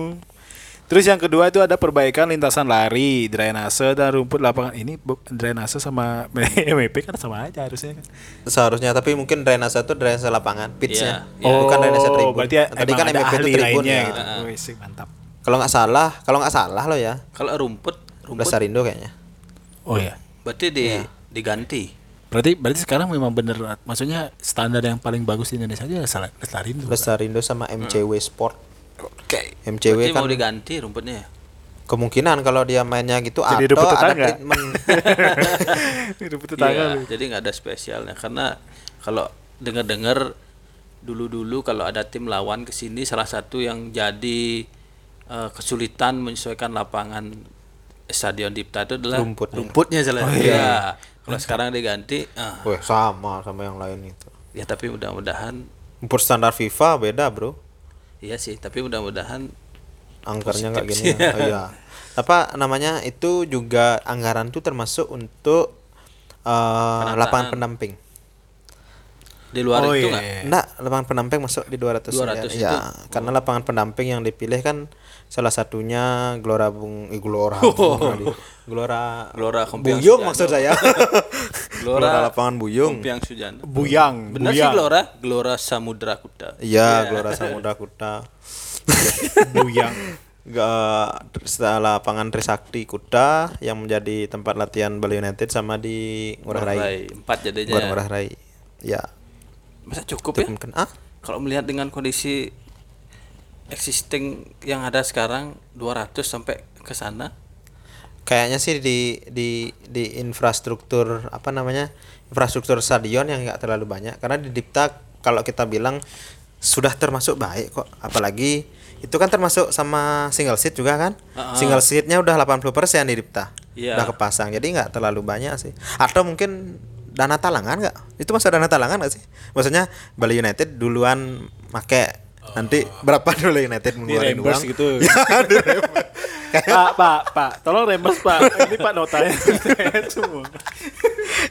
S1: Terus yang kedua itu ada perbaikan lintasan lari, drainase dan rumput lapangan. Ini bu- drainase sama <laughs> MEP kan sama aja harusnya kan.
S2: Seharusnya tapi mungkin drainase itu drainase lapangan, pitchnya. Ya,
S3: Iya, iya.
S2: Bukan drainase tribun.
S1: Oh, berarti
S2: Nah, Tadi
S1: emang
S2: kan
S1: ada
S2: MVP itu
S1: ahli
S2: tribun
S1: lainnya
S2: ya.
S1: gitu. Wih, sih, mantap.
S2: Kalau nggak salah, kalau nggak salah lo ya.
S3: Kalau rumput, rumput
S2: Dasarindo kayaknya.
S1: Oh iya.
S3: berarti di diganti.
S1: Berarti berarti sekarang memang bener maksudnya standar yang paling bagus di Indonesia aja salah lestarin dulu.
S2: Dasarindo sama MCW Sport.
S1: Oke.
S2: MCW
S3: Berarti
S2: kan
S3: Hmm. mau diganti rumputnya. ya?
S2: kemungkinan kalau dia mainnya gitu
S1: Jadi
S2: atau
S1: rumput
S2: ada
S1: tetangga. <laughs>
S2: treatment
S1: Hidup
S3: Iya,
S2: gitu.
S1: tetangga.
S3: jadi nggak ada spesialnya karena kalau dengar-dengar dulu-dulu kalau ada tim lawan ke sini salah satu yang jadi eh, kesulitan menyesuaikan lapangan Stadion Dipta itu adalah
S2: Rumputnya. Oh,
S3: rumputnya salah. satu. Iya. Kalau sekarang diganti ah,
S2: Weh, sama sama yang lain itu.
S3: ya tapi mudah-mudahan
S2: Impor standar FIFA beda, Bro.
S3: iya sih, tapi mudah-mudahan
S2: Angkernya nggak gini. ya. Oh, iya. Apa namanya? Itu juga anggaran tuh termasuk untuk eh, lapangan pendamping.
S3: di luar
S1: Oh,
S3: itu
S1: iya,
S3: nggak
S1: iya.
S2: Enggak, lapangan pendamping masuk di 200 miliar.
S3: 200
S2: Ya, karena lapangan pendamping yang dipilih kan salah satunya Gelora Bung eh, Gelora. Gelora
S3: Gelora Kompiang
S2: Buyung
S3: Sujana.
S2: maksud saya. Gelora, lapangan Buyung.
S3: Kompiang Sujana.
S1: Buyang,
S3: Benar sih
S1: buyang,
S3: Gelora, Gelora Samudra Kuta.
S2: Iya, Gelora Samudra Kuta.
S1: <laughs> buyang.
S2: Nggak, ter- setelah lapangan Trisakti Kuta yang menjadi tempat latihan Bali United sama di Ngurah Rai.
S3: Rai, Empat jadinya.
S2: Bukan Ngurah Rai. Ya.
S3: Masa cukup
S2: Itu
S3: ya?
S2: mungkin ah
S3: Kalau melihat dengan kondisi existing yang ada sekarang 200 sampai ke sana.
S2: kayaknya sih di di di infrastruktur apa namanya infrastruktur stadion yang nggak terlalu banyak karena di Dipta kalau kita bilang sudah termasuk baik kok apalagi itu kan termasuk sama single seat juga kan single seatnya udah 80% di Dipta
S3: Iya.
S2: udah kepasang jadi nggak terlalu banyak sih atau mungkin dana talangan nggak itu masuk dana talangan nggak sih maksudnya Bali United duluan make nanti berapa dulu United
S1: Di
S2: mengeluarkan uang
S1: Oh.
S2: Ya,
S1: reimburse
S2: <laughs>
S1: gitu. pak, pak, pak, tolong reimburse pak. Ini pak notanya semua.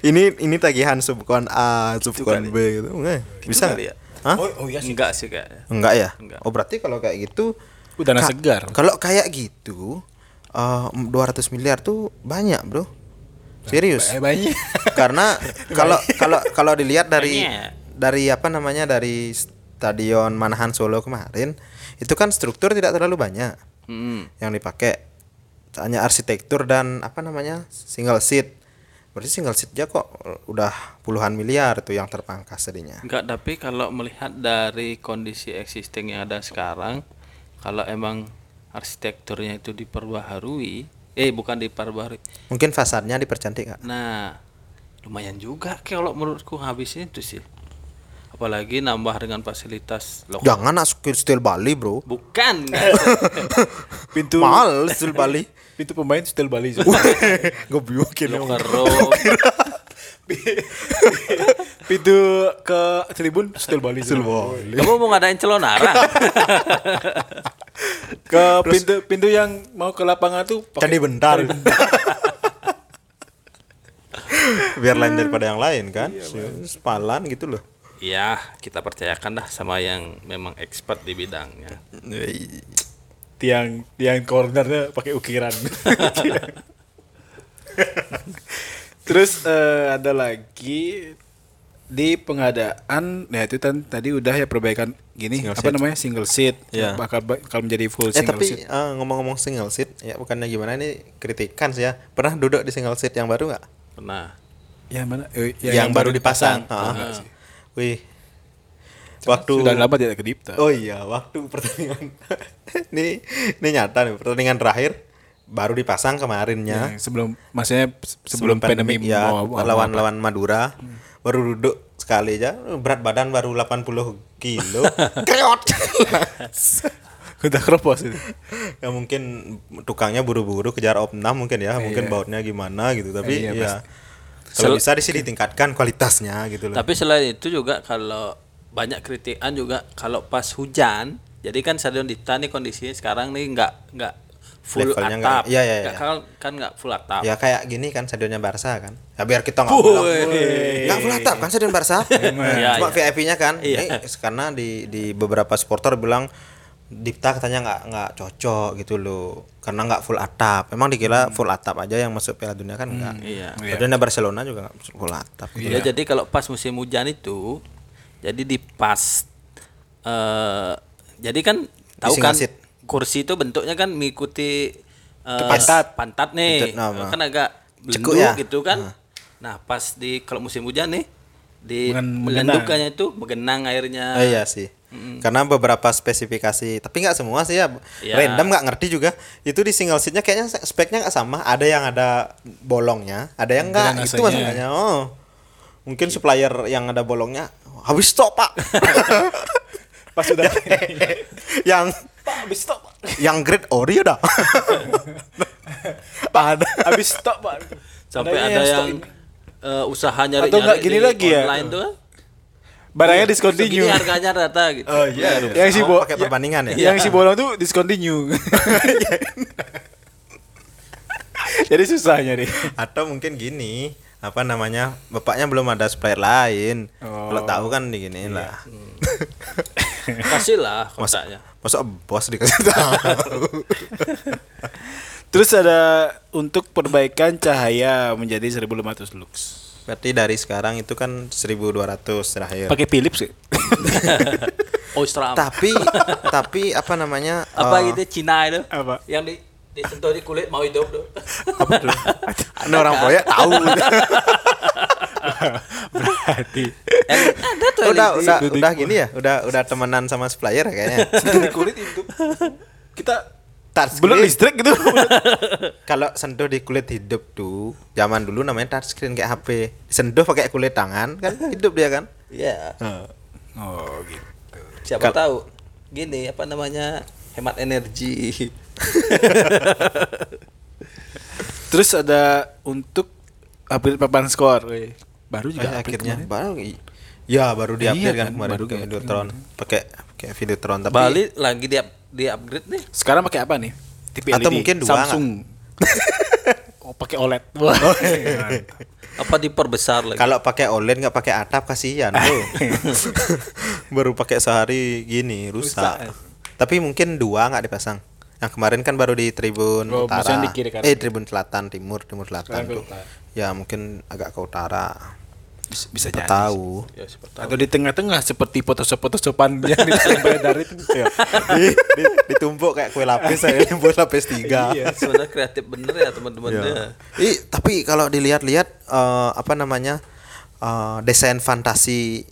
S2: ini ini tagihan subkon A, subkon B gitu. Enggak. Bisa
S3: ya? kali ya?
S2: enggak? Hah?
S3: Oh iya Enggak sih kayaknya.
S2: Enggak ya?
S3: Enggak.
S2: Oh, berarti kalau kayak gitu
S1: Udah
S2: ka-
S1: segar.
S2: Kalau kayak gitu eh, 200 miliar tuh banyak, Bro. Serius.
S1: banyak.
S2: Karena kalau kalau kalau dilihat dari
S3: Banyak.
S2: dari apa namanya dari stadion Manahan Solo kemarin, itu kan struktur tidak terlalu banyak
S3: Hmm.
S2: yang dipakai. Hanya arsitektur dan apa namanya? single seat. Berarti single seat aja kok udah puluhan miliar tuh yang terpangkas tadinya.
S3: Enggak, tapi kalau melihat dari kondisi existing yang ada sekarang, kalau emang arsitekturnya itu diperbaharui, eh bukan diperbaharui.
S2: Mungkin fasadnya dipercantik nggak?
S3: Nah, lumayan juga kalau menurutku habisnya itu sih. Apalagi nambah dengan fasilitas lokal.
S2: Jangan nak skill style Bali, Bro.
S3: Bukan, enggak.
S1: Pintu
S2: Mahal style Bali.
S1: pintu pemain setel Bali. Zul.
S2: Goblok ya.
S3: Kero.
S1: pintu ke tribun setel Bali. Zul.
S3: Kamu mau ngadain celonara?
S1: Ke pintu pintu yang mau ke lapangan tuh pakai
S2: Candi bentar. <laughs> Biar lain daripada yang lain kan. Sepalan gitu loh.
S3: ya, kita percayakan dah sama yang memang expert di bidangnya.
S2: Eh,
S1: tiang tiang cornernya pakai ukiran. <laughs> Terus eh, ada lagi di pengadaan ya itu kan tadi udah ya perbaikan gini apa namanya single seat Nah,
S2: Iya.
S1: bakal bakal menjadi full
S2: Eh
S1: single
S2: tapi
S1: seat.
S2: eh, ngomong-ngomong single seat, ya bukannya gimana ini kritikan sih ya. Pernah duduk di single seat yang baru nggak?
S3: Pernah.
S1: Ya mana? Eh, ya,
S2: yang, baru dipasang. Ah. Heeh. Wih. Waktu
S1: Sudah lama tidak ke Dipta.
S2: Oh iya, waktu pertandingan <laughs> ini ini nyata nih pertandingan terakhir baru dipasang kemarinnya
S1: Yang sebelum maksudnya se- sebelum, pandemi,
S2: ya
S1: mau- Hmm. mau-
S2: lawan lawan Madura baru duduk sekali aja berat badan baru 80
S1: <laughs>
S2: kilo kreot
S1: <laughs> Udah keropos itu.
S2: ya mungkin tukangnya buru-buru kejar opnam mungkin ya mungkin bautnya gimana gitu tapi
S1: Iya,
S2: ya kalau bisa di sini ditingkatkan kualitasnya gitu loh
S3: Tapi selain itu juga kalau banyak kritikan juga kalau pas hujan, jadi kan stadion Dipta nih kondisinya sekarang nih nggak nggak full
S2: Levelnya nggak-
S3: atap,
S2: iya, iya,
S3: Nggak-
S2: iya.
S3: kan kan nggak full atap.
S2: ya kayak gini kan stadionnya Barca kan ya biar kita nggak pulang nggak full atap kan stadion Barca
S3: <laughs> Iya,
S2: cuma
S3: iya.
S2: VIP-nya kan Ini karena di di beberapa supporter bilang Dipta katanya nggak nggak cocok gitu loh karena nggak full atap emang dikira full atap aja yang masuk Piala Dunia kan nggak
S3: Hmm. iya.
S2: Stadionnya Barcelona juga nggak full atap gitu.
S3: Ya, jadi kalau pas musim hujan itu, jadi di pas, eh, jadi kan tahu
S2: Isi
S3: kan
S2: ngasit.
S3: kursi itu bentuknya kan mengikuti eh,
S2: Pantat.
S3: pantat nih,
S2: Bentuk nama.
S3: kan agak
S2: Cekuk
S3: belenduk
S2: ya?
S3: gitu kan. Nah pas di kalau musim hujan nih di
S1: Mengen-
S3: belendukannya itu menggenang airnya.
S2: Ah, iya sih. Karena beberapa spesifikasi, tapi nggak semua sih ya.
S3: Iya.
S2: Random nggak ngerti juga. Itu di single seatnya kayaknya speknya nggak sama. Ada yang ada bolongnya, ada yang nggak. Itu
S1: rasanya.
S2: masalahnya. Oh, mungkin supplier yang ada bolongnya habis stok <laughs> pak.
S1: Pas <laughs> udah
S2: yang
S1: habis stop.
S2: yang grade Oreo dah. <laughs>
S1: Pak, habis stop, Pak.
S3: sampai
S1: Adanya
S3: ada
S1: stok
S3: yang,
S1: ini.
S3: eh, usaha nyari
S1: Atau nggak gini
S3: di
S1: lagi ya?
S3: online tuh
S1: barangnya
S3: segini
S1: discontinue. <laughs> Iya,
S3: harganya rata gitu
S1: Yang si
S2: Iya, Oh,
S1: bo-
S2: pakai perbandingan ya? <laughs>
S1: Yang si bolong tuh discontinue. <laughs> Jadi susah nyari.
S2: Atau mungkin gini apa namanya bapaknya belum ada supplier lain kalau tahu kan diginiin lah
S3: kasih lah kotaknya
S2: masa bos dikasih tahu <laughs>
S1: Terus ada untuk perbaikan cahaya menjadi 1500 lux.
S2: Berarti dari sekarang itu kan 1200 terakhir.
S1: Pakai Philips <laughs> ya?
S3: Ostra apa
S2: Tapi tapi apa namanya?
S1: Ah.
S2: eh,
S3: gitu Cina itu
S1: Apa?
S3: yang di disentuh di kulit mau hidup
S1: <laughs>
S3: tuh
S2: apa tuh? Ada orang boyak tahu.
S1: Berarti.
S3: Eh, ada tuh
S2: udah
S3: LED.
S2: udah udah gini ya, udah udah temenan sama supplier kayaknya.
S1: Di kulit itu. Kita
S2: Touch
S1: belum
S2: screen.
S1: listrik <laughs> gitu.
S2: Kalau sentuh di kulit hidup tuh, zaman dulu namanya touch screen kayak HP. Sentuh pakai kulit tangan kan hidup dia kan.
S3: Iya.
S1: oh gitu.
S3: siapa tahu gini apa namanya hemat energi
S1: Terus ada untuk update papan skor. weh. Baru
S2: Eh,
S1: juga update
S2: akhirnya
S1: kemarin.
S2: baru i- ya baru
S1: Iya
S2: diupdate kan
S1: kan,
S2: kemarin
S1: baru
S2: baru
S1: di-update.
S2: Videotron pakai pakai Videotron tapi
S3: Bali lagi di di upgrade nih
S1: Sekarang pakai apa nih? TV
S2: Atau mungkin dua
S1: Samsung. <laughs> oh, iya. pakai OLED. Wah.
S3: apa diperbesar lagi
S2: Kalau pakai OLED nggak pakai atap kasihan
S1: <laughs>
S2: bro. <laughs> baru pakai sehari gini rusak.
S1: Rusak. eh.
S2: Tapi mungkin dua nggak dipasang. Yang kemarin kan baru di Tribun
S1: Oh,
S2: Utara.
S1: maksudnya di kiri kanan.
S2: Eh Tribun Selatan, Timur, Timur Selatan.
S1: Sekarang ke
S2: tuh.
S1: utara.
S2: Ya mungkin agak ke utara.
S1: Bisa, bisa
S2: Nggak
S1: jadi.
S2: tahu.
S3: ya, seperti
S1: Atau di tengah-tengah seperti foto-foto sopan yang beredar <laughs> itu. Ya.
S2: Di- <laughs> di- ditumpuk kayak kue lapis saya <laughs> buat lapis
S1: <laughs>
S2: tiga.
S1: Iya.
S2: Nah.
S3: itu. <laughs> sebenarnya kreatif bener ya teman-teman ya.
S2: Ih, tapi kalau dilihat-lihat eh, apa namanya eh, desain fantasi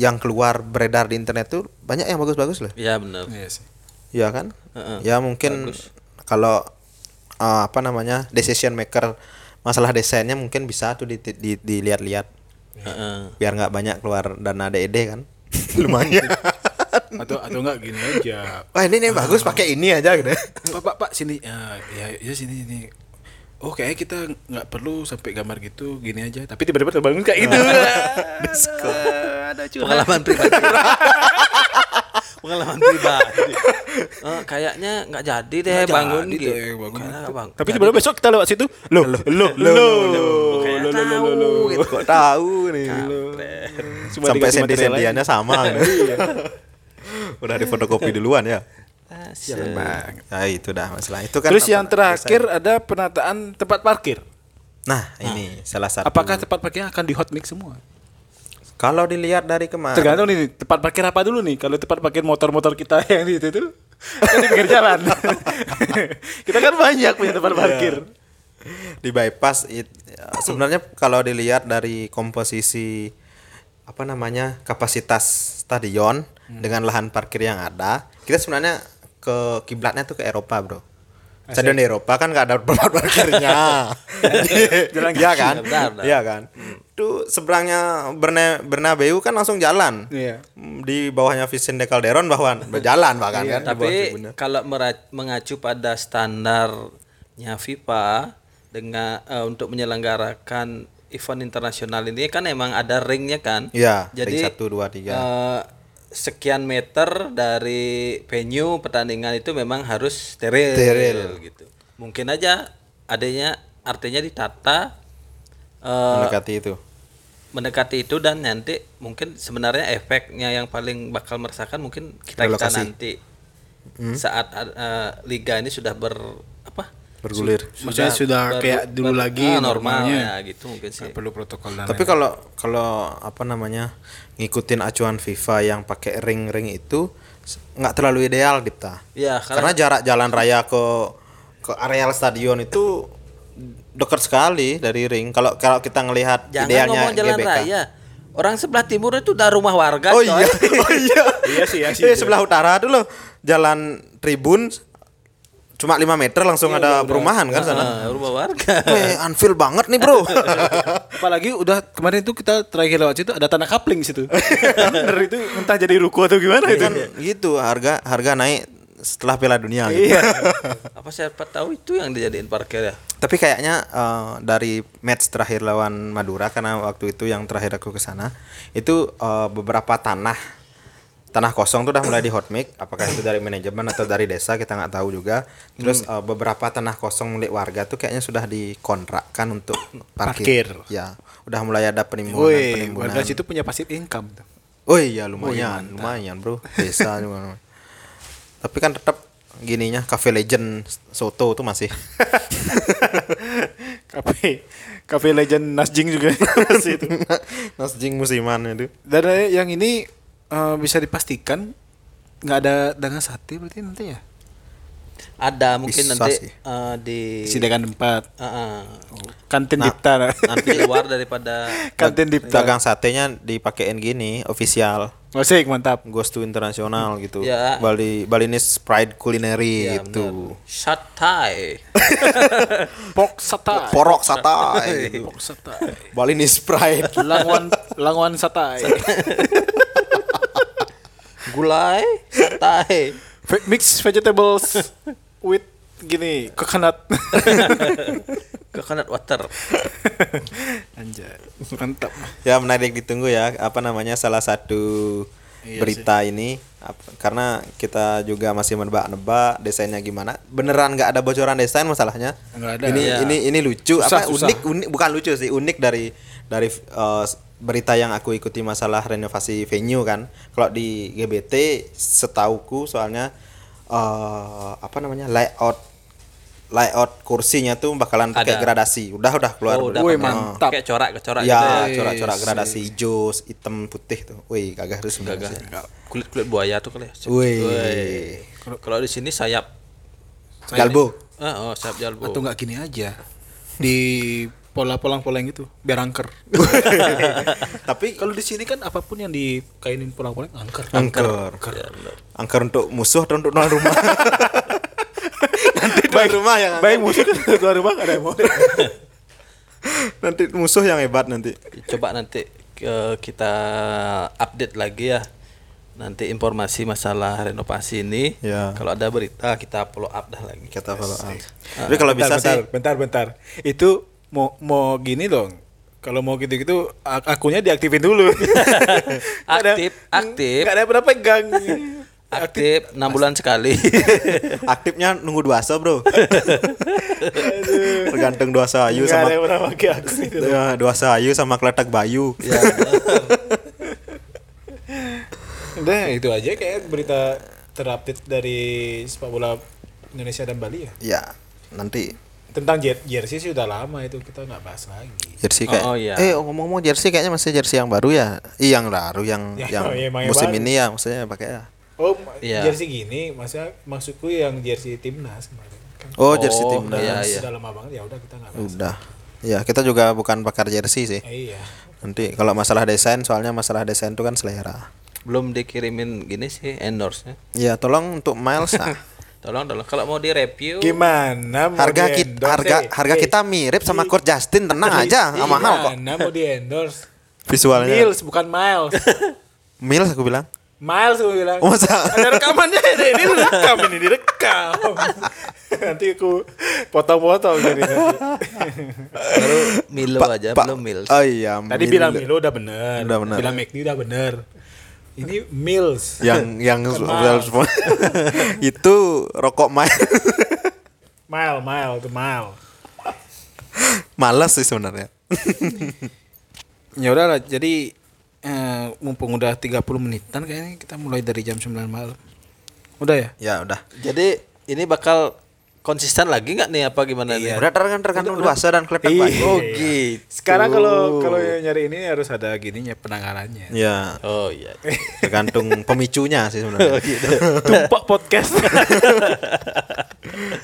S2: yang keluar beredar di internet tuh banyak yang bagus-bagus loh.
S3: ya bener
S1: Iya sih.
S2: Iya kan?
S3: Heeh,
S2: Ya mungkin kalau eh, apa namanya decision maker masalah desainnya mungkin bisa tuh di, di- dilihat-lihat
S3: Heeh.
S2: biar nggak banyak keluar dana DED kan. <laughs> Lumayan.
S1: Atau atau enggak gini aja.
S2: Wah ini nih bagus pakai ini aja gitu.
S1: Pak, pak, pak sini. Ya, ya, ya sini sini. Oh, kayaknya kita nggak perlu sampai gambar gitu, gini aja. Tapi tiba-tiba terbangun kayak <laughs> gitu. Ada curhat.
S3: pengalaman pribadi <laughs> pengalaman pribadi Eh, kayaknya nggak jadi deh
S1: Nggak
S3: bangun
S1: jadi
S3: gitu
S1: deh, bangun.
S3: Kayaknya nggak bang
S1: Tapi tiba-tiba besok kita lewat situ. Loh, loh, loh, loh, loh, loh,
S3: Kayaknya
S1: loh,
S3: tahu,
S1: loh.
S2: Gitu, Kok tahu nih.
S1: Cuma dikasih material Iya.
S2: Sampai
S1: lain.
S2: sendi-sendiannya
S1: <laughs>
S2: sama. <laughs> gitu. Udah difotokopi duluan ya.
S3: Siap.
S2: Nah, itu dah masalah. Itu kan
S1: Terus
S2: apa-
S1: yang terakhir ada penataan tempat parkir.
S2: Nah, ini salah satu.
S1: Apakah tempat parkirnya akan di hot mix semua?
S2: Kalau dilihat dari kemarin
S1: Tergantung nih tempat parkir apa dulu nih. Kalau tempat parkir motor-motor kita <laughs> yang di itu tuh kan di pinggir jalan. <laughs> kita kan banyak punya
S2: Iya.
S1: tempat parkir.
S2: di bypass it, sebenarnya kalau dilihat dari komposisi apa namanya kapasitas stadion dengan lahan parkir yang ada kita sebenarnya ke kiblatnya tuh ke Eropa bro Stadion Eropa kan nggak ada tempat parkirnya. jalan ya kan?
S3: Iya, benar, benar.
S2: Iya kan? Itu seberangnya Berne Bernabeu kan langsung jalan. Hmm,
S1: Iya.
S2: Di bawahnya Vicente Calderon bahkan berjalan bahkan kan. di bawah
S3: Tapi
S2: tribunnya.
S3: kalau mera- mengacu pada standarnya FIFA dengan eh, untuk menyelenggarakan event internasional ini kan emang ada ringnya kan.
S2: Iya, ring
S3: Jadi
S2: satu, dua, tiga.
S3: eh, sekian meter dari venue pertandingan itu memang harus steril, gitu. Mungkin aja adanya artinya ditata eh,
S2: mendekati itu.
S3: mendekati itu dan nanti mungkin sebenarnya efeknya yang paling bakal meresahkan mungkin kita kita
S2: Relokasi.
S3: nanti saat eh, liga ini sudah ber apa
S2: Bergulir.
S4: Maksudnya sudah
S3: ber-
S4: kayak dulu
S3: ber-
S4: lagi
S3: ah, normal
S4: normalnya.
S3: ya gitu mungkin sih
S1: Perlu protokol dan
S2: Tapi kalau kalau apa namanya ngikutin acuan FIFA yang pakai ring-ring itu s- nggak terlalu ideal Dipta.
S3: ya
S2: Karena,
S3: karena,
S2: jarak jalan raya ke ke areal stadion itu dekat sekali dari ring. Kalau kalau kita ngelihat
S3: jangan
S2: idealnya
S3: ngomong jalan
S2: GBK.
S3: raya orang sebelah timur itu udah rumah warga
S2: Oh
S3: coy. <laughs>
S2: iya, <laughs> oh iya.
S1: Iya sih, iya sih.
S2: Eh, sebelah utara dulu jalan Tribun cuma 5 meter langsung
S3: Iya,
S2: ada perumahan kan sana.
S3: Ah, rumah
S2: <laughs>
S3: warga
S2: Weh, Anfield banget nih,
S3: <laughs>
S2: Bro.
S1: apalagi udah kemarin itu kita terakhir lewat situ ada tanah kapling situ. Bener itu entah jadi ruko atau gimana itu.
S2: kan gitu harga harga naik setelah Piala Dunia gitu.
S3: apa siapa tahu itu yang dijadiin parkir ya
S2: <laughs> Tapi kayaknya eh, dari match terakhir lawan Madura karena waktu itu yang terakhir aku ke sana itu eh, beberapa tanah tanah kosong tuh udah mulai di hot mic apakah itu dari manajemen atau dari desa kita nggak tahu juga terus eh, beberapa tanah kosong milik warga tuh kayaknya sudah dikontrakkan untuk
S4: Parkir.
S2: parkir, ya udah mulai ada penimbunan
S1: Woi,
S2: penimbunan
S1: warga situ punya pasif income. tuh. <laughs>
S2: Oh iya lumayan, lumayan bro. Desa lumayan. Tapi kan tetap gininya Cafe Legend Soto tuh masih.
S1: Kafe Kafe Legend Nasjing
S2: <laughs> Iya,
S1: juga masih itu.
S2: Nasjing musiman itu.
S1: Dan eh, yang ini eh, bisa dipastikan nggak ada dagang sate berarti nanti ya?
S3: ada mungkin
S2: Bisa
S3: nanti
S2: sih.
S3: eh, di
S1: Sidakan tempat
S3: Ah, ah.
S1: kantin Dipta. Iya. nah.
S3: nanti di luar daripada
S1: <laughs> kantin Dipta.
S2: Dagang satenya dipakein gini, official.
S1: Osik mantap.
S2: Ghost to internasional gitu.
S3: Ya.
S2: Bali Balinese pride culinary
S3: Ya,
S2: gitu.
S3: shut tie
S1: Pok satai.
S2: Porok satai.
S1: Pok satai.
S2: Balinese pride.
S1: Langwan langwan satai.
S3: gulai satai
S1: Ve- Mix vegetables with gini <laughs> coconut.
S3: coconut water
S1: Anjay. Mantap.
S2: ya menarik ditunggu ya apa namanya salah satu
S1: Iya
S2: berita ini Ap- karena kita juga masih menebak-nebak desainnya gimana beneran nggak ada bocoran desain masalahnya
S1: Nggak ada.
S2: ini
S3: Iya.
S2: ini ini lucu
S1: Susah,
S2: apa
S1: susah.
S2: unik unik bukan lucu sih unik dari dari eh, s- berita yang aku ikuti masalah renovasi venue kan kalau di GBT setauku soalnya eh apa namanya layout layout kursinya tuh bakalan pakai
S3: Ada.
S2: gradasi udah udah keluar
S3: Oh, udah
S1: Woi,
S3: pakai-
S1: mantap.
S3: Kayak corak-corak gitu
S2: ya
S3: ya.
S2: corak-corak gradasi hijau hitam putih tuh wih kagak harus
S3: Gagah.
S2: sebenarnya sih.
S3: Kulit-kulit buaya tuh kali. ya.
S2: Wih.
S3: Kalau- Kalau di sini sayap.
S2: galbo
S3: Ah, oh, sayap jalbo.
S1: Atau nggak gini aja di pola polang-polang itu biar angker.
S2: <laughs> tapi
S1: Kalau di sini kan apapun yang dikainin polang-polang angker.
S2: angker Ya, angker untuk musuh atau untuk tuan rumah <laughs> nanti tuan rumah yang
S1: Baik musuh kan keluar rumah nggak ada
S2: <laughs>
S1: yang mau.
S2: nanti musuh yang hebat nanti
S3: Coba nanti eh, kita update lagi ya. Nanti informasi masalah renovasi ini.
S2: Ya.
S3: Kalau ada berita kita follow up dah lagi.
S2: kita follow up tapi kalau bisa
S1: bentar,
S2: <laughs> sih
S1: bentar, bentar. Itu mau mau gini dong. Kalau mau gitu-gitu ak- akunnya diaktifin <laughs> dulu.
S3: Aktif, aktif.
S1: Gak ada berapa gang.
S3: Aktif 6 bulan
S2: <laughs>
S3: sekali.
S2: aktifnya nunggu duasa bro tergantung duasa <laughs> ayu
S1: Gak ada
S2: sama
S1: berapa gang. itu.
S2: Ya, duasa ayu sama keletak bayu
S3: ya,
S1: Udah itu aja kayak berita terupdate dari sepak bola Indonesia dan Bali ya.
S2: ya nanti
S1: Tentang jer- jersey sih udah lama itu kita nggak bahas lagi.
S2: jersey kayak
S3: Oh, oh, iya.
S2: eh ngomong-ngomong jersey kayaknya masih jersey yang baru ya iya yang baru
S3: <laughs>
S2: yang
S1: Ya,
S2: yang
S1: iya, emang yang
S2: musim
S1: baru.
S2: ini ya maksudnya pakai ya
S1: Oh,
S3: Iya.
S1: jersey gini, maksudnya maksudku yang jersey timnas kemarin. Kan
S2: oh jersey
S3: Oh,
S2: timnas
S3: iya, iya.
S1: Sudah lama banget ya udah kita nggak bahas.
S2: udah ya kita juga bukan pakar jersey sih
S1: Eh, iya.
S2: nanti kalau masalah desain soalnya masalah desain itu kan selera
S3: belum dikirimin gini sih endorse-nya. <laughs>
S2: ya tolong untuk Miles lah
S3: Tolong tolong kalau mau direview
S1: Gimana mau
S2: harga kita
S1: di-endorse,
S2: harga
S1: eh?
S2: harga
S1: Eh,
S2: kita mirip sama Kurt Justin tenang aja
S1: iya,
S2: ah, mahal kok
S1: Gimana mau di endorse?
S2: visualnya
S1: Miles bukan
S2: <laughs>
S1: miles.
S2: Mills aku bilang
S1: Miles gue bilang.
S2: Oh, masa?
S1: Ada rekamannya <laughs> ini, ini direkam ini
S2: <laughs>
S1: direkam. nanti aku potong-potong jadi.
S2: <laughs>
S1: nanti.
S3: baru Milo
S2: Pak-
S3: aja
S2: Pak-
S3: belum Mils.
S2: oh iya
S1: Tadi
S2: Mil-
S1: bilang Milo udah bener.
S2: Udah bener. Ya.
S1: Bilang McD udah bener. Ini Mills.
S3: <laughs>
S2: yang yang
S1: Miles.
S2: <laughs> itu rokok <laughs> main
S1: Mile, mile, ke mile.
S2: malas sih sebenarnya <laughs>
S5: Ya udah lah, jadi eh, mumpung udah 30 menitan kayaknya kita mulai dari jam 9 malam. Udah ya?
S2: ya udah
S3: Jadi ini bakal konsisten lagi nggak nih apa gimana nih?
S2: udah tergantung kan, tergantung Iya. luasa dan kelepak banyak
S3: Oh gitu.
S1: Sekarang kalau kalau nyari ini harus ada gininya penanganannya.
S2: ya
S3: Oh iya.
S2: tergantung pemicunya sih sebenarnya
S1: Tumpak
S3: <laughs>
S1: podcast.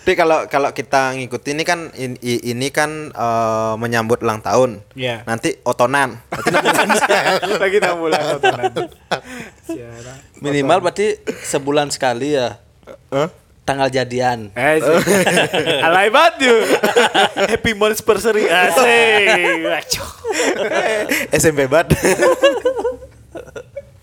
S2: tapi kalau kalau kita ngikutin ini kan in- i- ini kan eh, menyambut ulang tahun
S1: Iya.
S2: nanti otonan
S1: Lagi tambah ulang tontonan. Siaran.
S3: Minimal berarti sebulan sekali ya.
S2: <laughs>
S3: Tanggal jadian.
S1: Eh,
S3: <laughs>
S1: sih. alay banget you. Happy anniversary
S2: Eh,
S1: asik. Wacoh.
S2: <laughs> SMP bat